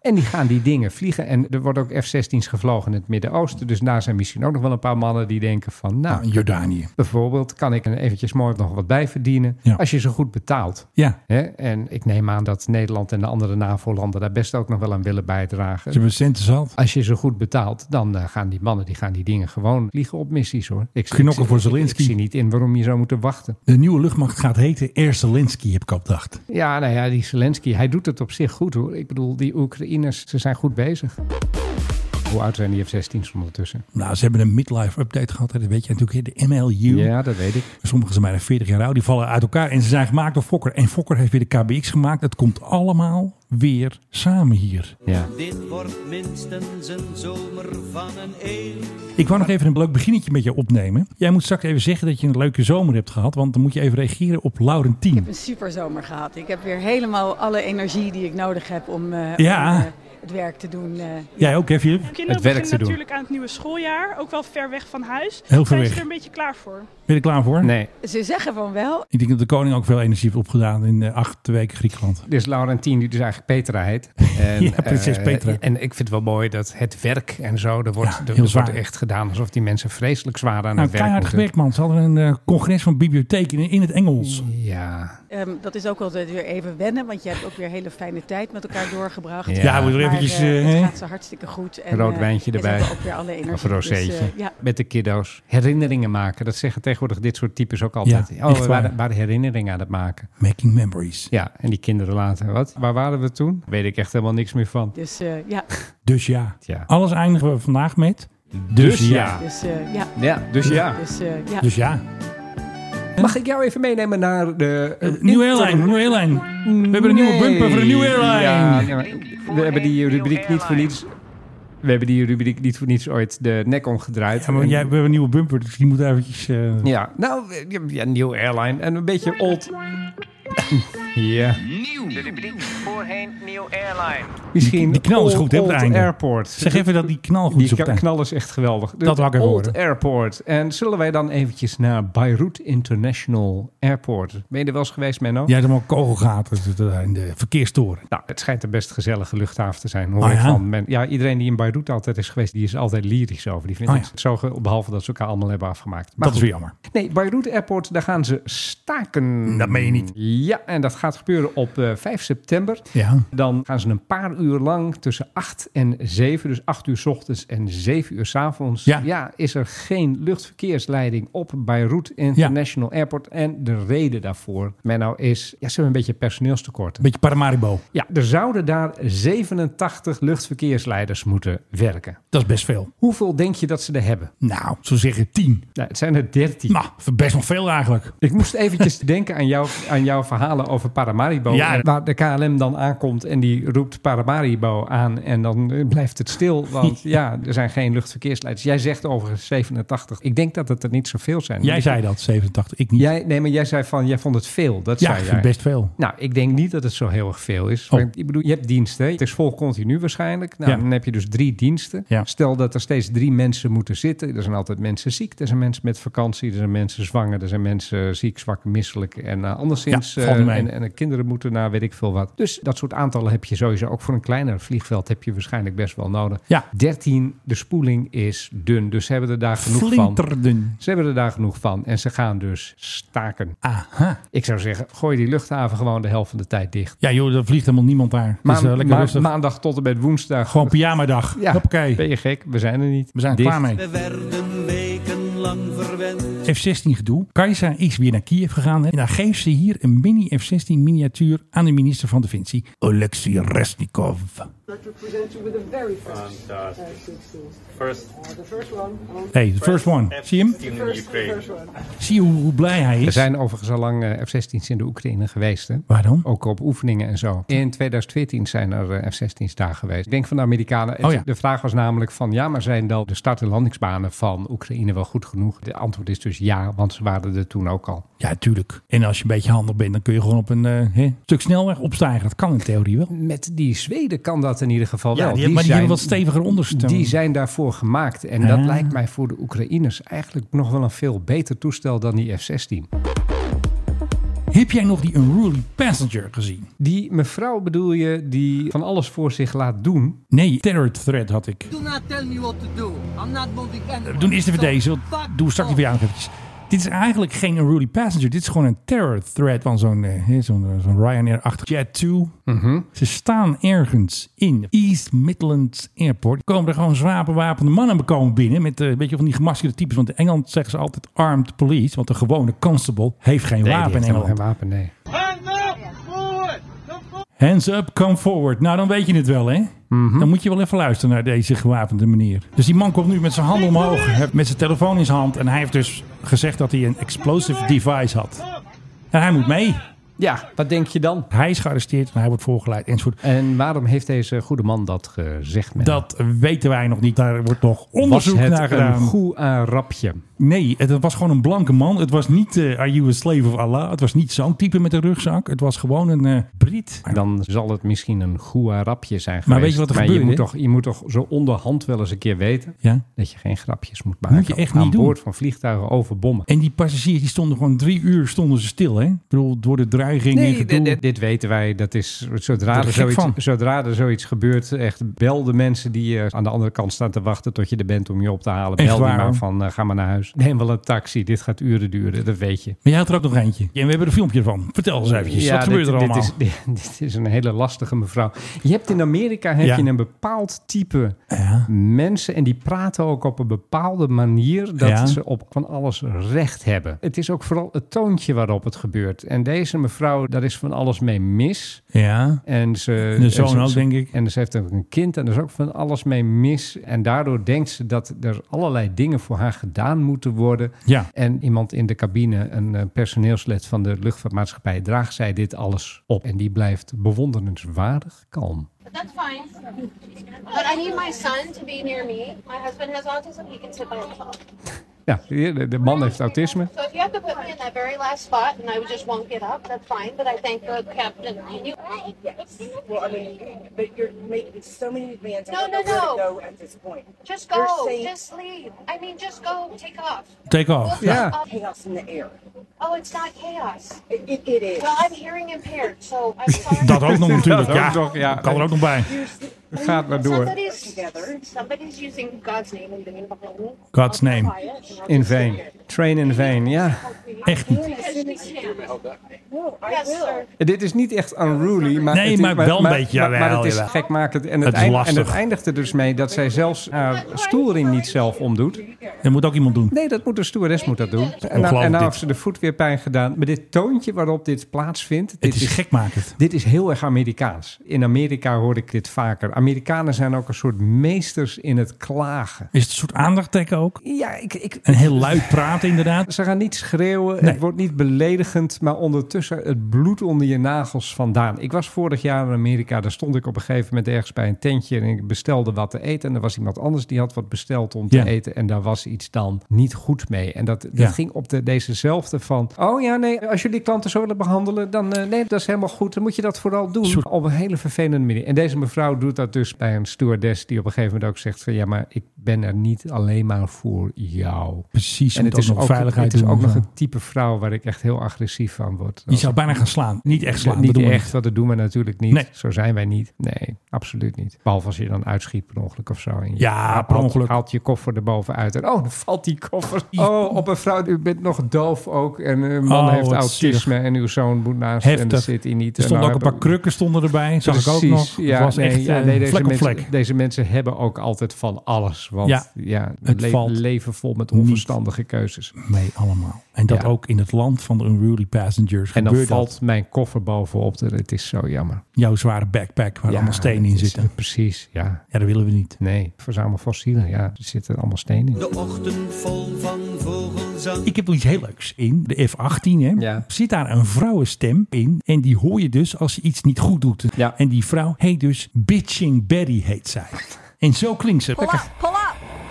Speaker 6: En die gaan die dingen vliegen. En er worden ook F-16's gevlogen in het Midden-Oosten. Dus daar zijn misschien ook nog wel een paar mannen die denken van... nou,
Speaker 5: Nou, Jordanië.
Speaker 6: bijvoorbeeld kan ik er eventjes mooi nog wat bij verdienen...
Speaker 5: Ja.
Speaker 6: als je ze goed betaalt.
Speaker 5: Ja.
Speaker 6: Hè? En ik neem aan dat Nederland en de andere NAVO-landen... daar best ook nog wel aan willen bijdragen.
Speaker 5: Ze hebben centen zat.
Speaker 6: Als je ze goed betaalt, dan eh, gaan die mannen die gaan die dingen gewoon vliegen op missies hoor. Ik,
Speaker 5: Knokken
Speaker 6: ik-
Speaker 5: voor
Speaker 6: ik-
Speaker 5: Zelensky.
Speaker 6: Ik zie niet in waarom je zou moeten wachten.
Speaker 5: De nieuwe luchtmacht gaat heten Air Zelensky, heb ik al gedacht.
Speaker 6: Ja, nou ja, die Zelensky, hij doet het op zich goed hoor. Ik bedoel, die Oekraïners, ze zijn goed bezig. Hoe oud zijn die F-16's ondertussen?
Speaker 5: Nou, ze hebben een midlife update gehad. hè. Dat weet je natuurlijk, hè, de MLU.
Speaker 6: Ja, dat weet ik.
Speaker 5: Sommigen zijn bijna 40 jaar oud. Die vallen uit elkaar. En ze zijn gemaakt door Fokker. En Fokker heeft weer de KBX gemaakt. Het komt allemaal weer samen hier.
Speaker 6: Ja.
Speaker 8: Dit wordt minstens een zomer van een eeuw.
Speaker 5: Ik wou nog even een leuk beginnetje met je opnemen. Jij moet straks even zeggen dat je een leuke zomer hebt gehad. Want dan moet je even reageren op Laurentien.
Speaker 4: een super zomer gehad. Ik heb weer helemaal alle energie die ik nodig heb om, eh,
Speaker 5: Ja.
Speaker 4: om, eh, het werk te doen. eh.
Speaker 5: Jij ook, hè, Filip?
Speaker 9: Kinderen
Speaker 6: Het werk
Speaker 9: beginnen
Speaker 6: te doen.
Speaker 9: natuurlijk aan het nieuwe schooljaar, ook wel ver weg van huis.
Speaker 5: ver
Speaker 9: Zijn
Speaker 5: weg.
Speaker 9: ze er een beetje klaar voor?
Speaker 5: Ben je er klaar voor?
Speaker 6: Nee,
Speaker 4: Ze zeggen van wel.
Speaker 5: Ik denk dat de koning ook veel energie heeft opgedaan in eh, acht weken Griekenland.
Speaker 6: dit is Laurentien, die dus eigenlijk Petra heet. En,
Speaker 5: Ja, prinses
Speaker 6: eh,
Speaker 5: Petra.
Speaker 6: En ik vind het wel mooi dat het werk en zo, er wordt,
Speaker 5: Ja,
Speaker 6: er-
Speaker 5: heel
Speaker 6: er, wordt
Speaker 5: zwaar.
Speaker 6: echt gedaan alsof die mensen vreselijk zwaar aan
Speaker 5: Nou,
Speaker 6: het werk
Speaker 5: keihard
Speaker 6: moeten.
Speaker 5: gewerkt, man. Ze hadden een eh, congres van bibliotheken in, in het Engels.
Speaker 6: Ja,
Speaker 4: Ehm, dat is ook altijd weer even wennen, want je hebt ook weer hele fijne tijd met elkaar doorgebracht.
Speaker 6: Ja.
Speaker 5: Ja, we moeten er
Speaker 4: Maar,
Speaker 5: eventjes...
Speaker 4: eh,
Speaker 5: eh,
Speaker 4: het
Speaker 5: hè?
Speaker 4: gaat ze hartstikke goed. En,
Speaker 6: Rood
Speaker 4: eh,
Speaker 6: wijntje
Speaker 4: en ze
Speaker 6: erbij.
Speaker 4: hebben ook weer alle energie.
Speaker 6: Of een rozeetje.
Speaker 4: Dus, eh, ja.
Speaker 6: met de kiddo's. Herinneringen maken. Dat zeggen tegenwoordig dit soort types ook altijd.
Speaker 5: Ja,
Speaker 6: oh,
Speaker 5: echt
Speaker 6: we
Speaker 5: waar.
Speaker 6: waren, waren herinneringen aan het maken.
Speaker 5: Making memories.
Speaker 6: Ja, en die kinderen later. Wat? Waar waren we toen? Weet ik echt helemaal niks meer van.
Speaker 4: Dus eh, ja,
Speaker 5: Dus ja.
Speaker 6: Ja.
Speaker 5: Alles eindigen we vandaag met...
Speaker 4: dus eh, ja,
Speaker 6: Ja, dus ja.
Speaker 4: dus eh, ja.
Speaker 5: Dus ja.
Speaker 6: Mag ik jou even meenemen naar de... eh,
Speaker 5: Nieuwe airline, nieuwe airline. We hebben een nieuwe
Speaker 6: Nee.
Speaker 5: bumper voor een nieuwe airline.
Speaker 6: Ja, ja, maar we hebben die rubriek niet voor niets... We hebben die rubriek niet voor niets ooit de nek omgedraaid.
Speaker 5: Ja, maar
Speaker 6: En-
Speaker 5: jij, we hebben een nieuwe bumper, dus die moet eventjes... eh,
Speaker 6: [laughs] Ja, nou, ja, nieuw airline en een beetje old. ja.
Speaker 8: Nieuw
Speaker 10: de rubriek voorheen Nieuw Airline.
Speaker 6: Misschien
Speaker 5: die knal is
Speaker 6: Old-
Speaker 5: goed, hè, op het
Speaker 6: Old
Speaker 5: einde.
Speaker 6: Airport.
Speaker 5: Zeg even dat die knal goed
Speaker 6: Die
Speaker 5: is op het
Speaker 6: ka-
Speaker 5: eind.
Speaker 6: knal is echt geweldig. De
Speaker 5: Dat wou ik even
Speaker 6: Old
Speaker 5: horen.
Speaker 6: Airport. En zullen wij dan eventjes naar Beirut International Airport? Ben je er wel eens geweest, Menno?
Speaker 5: Jij hebt allemaal kogelgaten eh, in de verkeerstoren.
Speaker 6: Nou, het schijnt een best gezellige luchthaven te zijn. Hoor
Speaker 5: Oh
Speaker 6: ik
Speaker 5: ja?
Speaker 6: van men, ja, iedereen die in Beirut altijd is geweest, die is altijd lyrisch over. Die vindt
Speaker 5: Oh
Speaker 6: het zo ge- behalve dat ze elkaar allemaal hebben afgemaakt.
Speaker 5: Dat is
Speaker 6: goed.
Speaker 5: weer jammer.
Speaker 6: Nee, Beirut Airport, daar gaan ze staken.
Speaker 5: Dat meen je niet.
Speaker 6: Ja, en dat gaat gebeuren op eh, 5 september.
Speaker 5: Ja.
Speaker 6: Dan gaan ze een paar uur lang tussen 8 en 7, dus 8 uur 's ochtends en 7 uur 's avonds.
Speaker 5: Ja.
Speaker 6: is er geen luchtverkeersleiding op Beirut International Airport. En de reden daarvoor, Menno, is ja, ze hebben een beetje personeelstekort.
Speaker 5: Beetje Paramaribo.
Speaker 6: Ja, er zouden daar 87 luchtverkeersleiders moeten werken.
Speaker 5: Dat is best veel.
Speaker 6: Hoeveel denk je dat ze er hebben?
Speaker 5: Nou, zo zeggen tien.
Speaker 6: Nou, het zijn er 13.
Speaker 5: Nou, best nog veel eigenlijk.
Speaker 6: Ik moest eventjes [laughs] denken aan, jou, aan jouw verhalen over Paramaribo.
Speaker 5: Ja.
Speaker 6: En Waar de KLM dan aankomt en die roept Paramaribo aan. En dan eh, blijft het stil, want
Speaker 5: [laughs]
Speaker 6: ja, er zijn geen luchtverkeersleiders. Jij zegt overigens 87. Ik denk dat het er niet zoveel zijn.
Speaker 5: Jij zei dat, 87. Ik niet.
Speaker 6: Jij, nee, maar jij zei van, jij vond het veel. Dat
Speaker 5: ja,
Speaker 6: zei
Speaker 5: ik
Speaker 6: jij.
Speaker 5: vind best veel.
Speaker 6: Nou, ik denk niet dat het zo heel erg veel is.
Speaker 5: Oh.
Speaker 6: Want Ik bedoel, je hebt diensten. hè. Het is vol continu waarschijnlijk. Nou,
Speaker 5: Ja.
Speaker 6: Dan heb je dus drie diensten.
Speaker 5: Ja.
Speaker 6: Stel dat er steeds drie mensen moeten zitten. Er zijn altijd mensen ziek. Er zijn mensen met vakantie. Er zijn mensen zwanger. Er zijn mensen ziek, zwak, misselijk. En eh, anderszins.
Speaker 5: Ja, valt niet
Speaker 6: eh,
Speaker 5: mee.
Speaker 6: en, en de kinderen moeten naar weet ik veel wat. Dus dat soort aantallen heb je sowieso. Ook voor een kleiner vliegveld heb je waarschijnlijk best wel nodig.
Speaker 5: Ja.
Speaker 6: 13, de spoeling is dun. Dus ze hebben er daar genoeg van.
Speaker 5: Flinterdun.
Speaker 6: Ze hebben er daar genoeg van. En ze gaan dus staken.
Speaker 5: Aha.
Speaker 6: Ik zou zeggen, gooi die luchthaven gewoon de helft van de tijd dicht.
Speaker 5: Ja joh, er vliegt helemaal niemand daar. Het
Speaker 6: Maar
Speaker 5: is eh, lekker rustig.
Speaker 6: maandag tot en met woensdag.
Speaker 5: Gewoon pyjama-dag.
Speaker 6: ja,
Speaker 5: Hoppakee.
Speaker 6: ben je gek? We zijn er niet.
Speaker 5: We zijn er
Speaker 6: Dicht.
Speaker 5: klaar mee.
Speaker 8: We werden wekenlang verwend.
Speaker 5: F-16 gedoe. Kajsa is weer naar Kiev gegaan. Hè? En dan geeft ze hier een mini F-16 miniatuur aan de minister van Defensie, Oleksiy Resnikov. Hey, the first one. Zie je hem? Zie je hoe, hoe blij hij
Speaker 6: Er
Speaker 5: is?
Speaker 6: zijn overigens al lang eh, F-16's in de Oekraïne geweest. Hè?
Speaker 5: Waar dan?
Speaker 6: Ook op oefeningen en zo. In 2014 zijn er eh, F-16's daar geweest. Ik denk van de Amerikanen. Het-
Speaker 5: Oh ja.
Speaker 6: De vraag was namelijk van ja, maar zijn dan de start- en landingsbanen van Oekraïne wel goed genoeg? De antwoord is dus ja, want ze waren er toen ook al.
Speaker 5: Ja, tuurlijk. En als je een beetje handig bent, dan kun je gewoon op een eh, hè, stuk snelweg opstijgen. Dat kan in theorie wel.
Speaker 6: Met die Zweden kan dat in ieder geval
Speaker 5: Ja,
Speaker 6: wel.
Speaker 5: die, maar die
Speaker 6: zijn-
Speaker 5: hebben wat steviger ondersteun.
Speaker 6: Die zijn daarvoor gemaakt. En dat
Speaker 5: Ah.
Speaker 6: lijkt mij voor de Oekraïners eigenlijk nog wel een veel beter toestel dan die F-16.
Speaker 5: Heb jij nog die Unruly Passenger gezien?
Speaker 6: Die mevrouw bedoel je die van alles voor zich laat doen.
Speaker 5: Nee, Terror Threat had ik.
Speaker 11: Do not tell me what to do. I'm not moving anyone.
Speaker 5: We doen eerst even
Speaker 11: So
Speaker 5: deze.
Speaker 11: fuck
Speaker 5: want Doe straks
Speaker 11: off.
Speaker 5: weer aan eventjes. Dit is eigenlijk geen unruly passenger. Dit is gewoon een terror threat van zo'n eh, hè, zo'n eh, zo'n Ryanair-achtig Jet 2.
Speaker 6: Mhm.
Speaker 5: Ze staan ergens in East Midlands Airport. Komen er gewoon zwaar bewapende mannen komen binnen. Met eh, weet je, van die gemaskerde types. Want in Engeland zeggen ze altijd armed police. Want de gewone constable heeft geen
Speaker 6: die
Speaker 5: wapen
Speaker 6: heeft
Speaker 5: in
Speaker 6: helemaal geen
Speaker 5: Engeland.
Speaker 6: wapen, nee.
Speaker 5: Hands up, come forward. Nou, dan weet je het wel, hè?
Speaker 6: Mhm.
Speaker 5: Dan moet je wel even luisteren naar deze gewapende meneer. Dus die man komt nu met zijn handen omhoog, hij heeft met zijn telefoon in zijn hand. En hij heeft dus gezegd dat hij een explosive device had. En hij moet mee.
Speaker 6: Ja, wat denk je dan?
Speaker 5: Hij is gearresteerd en hij wordt voorgeleid enzovoort.
Speaker 6: En waarom heeft deze goede man dat gezegd? Menno?
Speaker 5: Dat weten wij nog niet. Daar wordt nog
Speaker 6: was
Speaker 5: onderzoek
Speaker 6: het
Speaker 5: naar gedaan.
Speaker 6: een goed eh, rapje.
Speaker 5: Nee, het, het was gewoon een blanke man. Het was niet eh Are You a Slave of Allah? Het was niet zo'n type met een rugzak. Het was gewoon een eh, Brit.
Speaker 6: Dan zal het misschien een goed eh, rapje zijn geweest.
Speaker 5: Maar weet je wat er
Speaker 6: maar
Speaker 5: gebeurde?
Speaker 6: Je moet, toch, je moet toch zo onderhand wel eens een keer weten
Speaker 5: Ja.
Speaker 6: dat je geen grapjes moet maken.
Speaker 5: Moet je echt
Speaker 6: aan
Speaker 5: niet doen.
Speaker 6: boord van vliegtuigen over bommen.
Speaker 5: En die passagiers die stonden gewoon drie uur stonden ze stil, hè? Ik bedoel, door de dreiging en
Speaker 6: Nee,
Speaker 5: gedoe.
Speaker 6: dit, dit- dit weten wij. Dat is, zodra,
Speaker 5: Word
Speaker 6: er
Speaker 5: er gek
Speaker 6: zoiets,
Speaker 5: van.
Speaker 6: zodra er zoiets gebeurt, echt bel de mensen die eh, aan de andere kant staan te wachten tot je er bent om je op te halen.
Speaker 5: Echt
Speaker 6: Bel die
Speaker 5: waar, hoor.
Speaker 6: maar van eh, ga maar naar huis. Neem wel een taxi. Dit gaat uren duren, dat weet je.
Speaker 5: Maar jij had er ook nog eentje. Ja, En we hebben er een filmpje van. Vertel eens eventjes, wat
Speaker 6: dit-
Speaker 5: gebeurt er allemaal?
Speaker 6: Dit is, dit, dit is [laughs] een hele lastige mevrouw. Je hebt in Amerika heb
Speaker 5: Ja.
Speaker 6: je een bepaald type
Speaker 5: Ja.
Speaker 6: mensen en die praten ook op een bepaalde manier dat
Speaker 5: Ja.
Speaker 6: ze op van alles recht hebben. Het is ook vooral het toontje waarop het gebeurt. En deze mevrouw, daar is van alles mee mis.
Speaker 5: Ja,
Speaker 6: En ze,
Speaker 5: De
Speaker 6: en
Speaker 5: zoon
Speaker 6: ze-
Speaker 5: ook,
Speaker 6: ze-
Speaker 5: denk ik.
Speaker 6: En ze heeft ook een kind en er is ook van alles mee mis. En daardoor denkt ze dat er allerlei dingen voor haar gedaan moeten worden.
Speaker 5: Ja.
Speaker 6: En iemand in de cabine, een eh, personeelslid van de luchtvaartmaatschappij, draagt zij dit alles op. En die blijft bewonderenswaardig kalm.
Speaker 11: That's fine. But I need my son to be near me. My husband has autism. He can sit by himself.
Speaker 6: Ja, de, de man heeft autisme.
Speaker 11: So if you have to put me in that very last spot and I just won't get up, that's fine. But I thank the captain. And you,
Speaker 12: Yes. Well, I mean, but you're making so many demands. I
Speaker 11: No,
Speaker 12: don't know where
Speaker 11: no,
Speaker 12: to
Speaker 11: no.
Speaker 12: go at this point.
Speaker 11: Just
Speaker 12: You're
Speaker 11: go.
Speaker 12: saying-
Speaker 11: Just leave. I mean, just go. Take off.
Speaker 5: Take off.
Speaker 11: We'll
Speaker 5: Oh, Ja.
Speaker 11: take off.
Speaker 12: Chaos in the air.
Speaker 11: Oh, it's not chaos.
Speaker 12: It, it, it is.
Speaker 11: Well, I'm hearing impaired, so
Speaker 5: [laughs]
Speaker 11: I'm sorry.
Speaker 5: Dat ook nog natuurlijk.
Speaker 6: Dat
Speaker 5: ja.
Speaker 6: ook nog, ja.
Speaker 5: Kan er ook nog bij.
Speaker 6: Het gaat maar door.
Speaker 11: Somebody's, somebody's using God's name in vain.
Speaker 5: God's name.
Speaker 6: In vain. Train in vain, ja.
Speaker 5: Echt niet.
Speaker 11: Yes, sir.
Speaker 6: En Dit is niet echt unruly, maar,
Speaker 5: Nee,
Speaker 6: het is-
Speaker 5: maar wel een beetje,
Speaker 6: Maar, maar
Speaker 5: jawel,
Speaker 6: het is
Speaker 5: jawel.
Speaker 6: gekmakend. En het,
Speaker 5: Het is
Speaker 6: eind- en
Speaker 5: lastig.
Speaker 6: het eindigt er dus mee dat zij zelfs haar stoelring niet zelf omdoet.
Speaker 5: Dat moet ook iemand doen.
Speaker 6: Nee, dat moet de stewardess moet dat doen. En nou,
Speaker 5: Ongelooflijk
Speaker 6: en nou
Speaker 5: dit.
Speaker 6: heeft ze de voet weer pijn gedaan. Maar dit toontje waarop dit plaatsvindt...
Speaker 5: Het
Speaker 6: dit
Speaker 5: is gekmakend.
Speaker 6: Dit is heel erg Amerikaans. In Amerika hoor ik dit vaker. Amerikanen zijn ook een soort meesters in het klagen.
Speaker 5: Is het een soort aandachtteken ook?
Speaker 6: Ja, ik, ik,
Speaker 5: En heel luid praten inderdaad.
Speaker 6: Ze gaan niet schreeuwen, het wordt niet beledigend, maar ondertussen het bloed onder je nagels vandaan. Ik was vorig jaar in Amerika, daar stond ik op een gegeven moment ergens bij een tentje en ik bestelde wat te eten. En er was iemand anders die had wat besteld om te
Speaker 5: Ja.
Speaker 6: eten en daar was iets dan niet goed mee. En dat, dat
Speaker 5: Ja.
Speaker 6: ging op de, dezezelfde van, oh ja nee, als jullie klanten zo willen behandelen, dan eh, nee, dat is helemaal goed. Dan moet je dat vooral doen
Speaker 5: Soort-
Speaker 6: op een hele vervelende manier. En deze mevrouw doet dat dus bij een stewardess die op een gegeven moment ook zegt van, ja maar ik ben er niet alleen maar voor jou.
Speaker 5: Precies.
Speaker 6: En het is, ook,
Speaker 5: veiligheid
Speaker 6: het is
Speaker 5: doen.
Speaker 6: ook nog
Speaker 5: Ja.
Speaker 6: een type vrouw waar ik echt heel agressief van word.
Speaker 5: Je zou bijna gaan slaan. Niet echt slaan.
Speaker 6: niet
Speaker 5: dat doen we
Speaker 6: echt, want dat doen we natuurlijk niet.
Speaker 5: Nee.
Speaker 6: Zo zijn wij niet. Nee, absoluut niet. Behalve als je dan uitschiet per ongeluk of zo. En je
Speaker 5: Ja, per
Speaker 6: haalt-
Speaker 5: ongeluk.
Speaker 6: Haalt je koffer erboven uit. En oh, dan valt die
Speaker 5: [laughs]
Speaker 6: koffer. Oh, op een vrouw. U bent nog doof ook. En uw man
Speaker 5: Oh,
Speaker 6: heeft
Speaker 5: wat
Speaker 6: autisme. En uw zoon moet naast. En
Speaker 5: Heftig.
Speaker 6: dat zit hij niet.
Speaker 5: Er
Speaker 6: En
Speaker 5: stonden
Speaker 6: nou
Speaker 5: ook een paar
Speaker 6: hebben-
Speaker 5: krukken stonden erbij. Zag ik ook
Speaker 6: Precies,
Speaker 5: nog.
Speaker 6: Ja,
Speaker 5: het was
Speaker 6: nee,
Speaker 5: echt
Speaker 6: ja,
Speaker 5: eh,
Speaker 6: nee, deze
Speaker 5: vlek op
Speaker 6: mensen,
Speaker 5: vlek.
Speaker 6: Deze mensen hebben ook altijd van alles. Want
Speaker 5: Ja,
Speaker 6: ja,
Speaker 5: het
Speaker 6: het
Speaker 5: valt
Speaker 6: leven vol met
Speaker 5: niet.
Speaker 6: onverstandige keuzes.
Speaker 5: Mee allemaal. En dat
Speaker 6: Ja.
Speaker 5: ook in het land van de unruly passengers
Speaker 6: En dan
Speaker 5: gebeurt
Speaker 6: valt
Speaker 5: dat.
Speaker 6: mijn koffer bovenop. Het is zo jammer.
Speaker 5: Jouw zware backpack waar
Speaker 6: Ja,
Speaker 5: allemaal stenen in
Speaker 6: het is-
Speaker 5: zitten.
Speaker 6: Precies, ja.
Speaker 5: eh, Ja, dat willen we niet.
Speaker 6: Nee, verzamel fossielen. Ja, er zitten allemaal stenen in.
Speaker 8: De ochtend vol van vogelzang.
Speaker 5: Ik heb wel iets heel leuks in. De F-18, hè.
Speaker 6: Ja.
Speaker 5: Zit daar een vrouwenstem in. En die hoor je dus als je iets niet goed doet.
Speaker 6: Ja.
Speaker 5: En die vrouw heet dus Bitching Betty, heet zij. En zo klinkt ze. Lekker.
Speaker 13: pull up.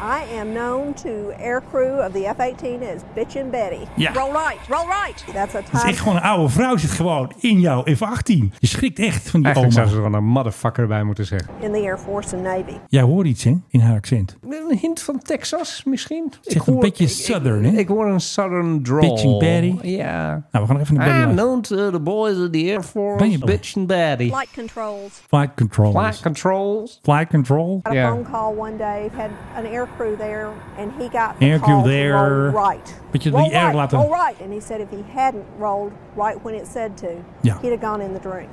Speaker 13: I am known to air crew of the F-18 as Bitchin' Betty.
Speaker 5: Ja.
Speaker 13: Roll right, roll right. That's a
Speaker 5: Dat is
Speaker 13: time.
Speaker 5: echt gewoon een oude vrouw zit gewoon in jouw F-18. Je schrikt echt van die
Speaker 6: Eigenlijk zou
Speaker 5: oma.
Speaker 6: ze er wel een motherfucker bij moeten zeggen.
Speaker 13: in the Air Force and Navy.
Speaker 5: Jij hoort iets, hè? In haar accent.
Speaker 6: Een hint van Texas misschien?
Speaker 5: is echt een beetje southern, hè?
Speaker 6: Ik hoor een southern drawl.
Speaker 5: Bitching Betty.
Speaker 6: Ja.
Speaker 5: Nou, we gaan nog even naar Betty luisteren.
Speaker 6: known to the boys of the Air
Speaker 5: Ben je- Oh.
Speaker 6: and Betty.
Speaker 13: Flight controls.
Speaker 5: Flight control.
Speaker 6: Flight controls.
Speaker 5: Flight control.
Speaker 13: Got a
Speaker 6: Yeah.
Speaker 13: phone call one day, had an air crew there, and he got the
Speaker 5: Air crew
Speaker 13: call to
Speaker 5: there.
Speaker 13: roll right.
Speaker 5: But you-
Speaker 13: roll
Speaker 5: the air
Speaker 13: right,
Speaker 5: laten-
Speaker 13: roll right. And he said if he hadn't rolled right when it said to,
Speaker 5: Yeah.
Speaker 13: he'd have gone in the drink.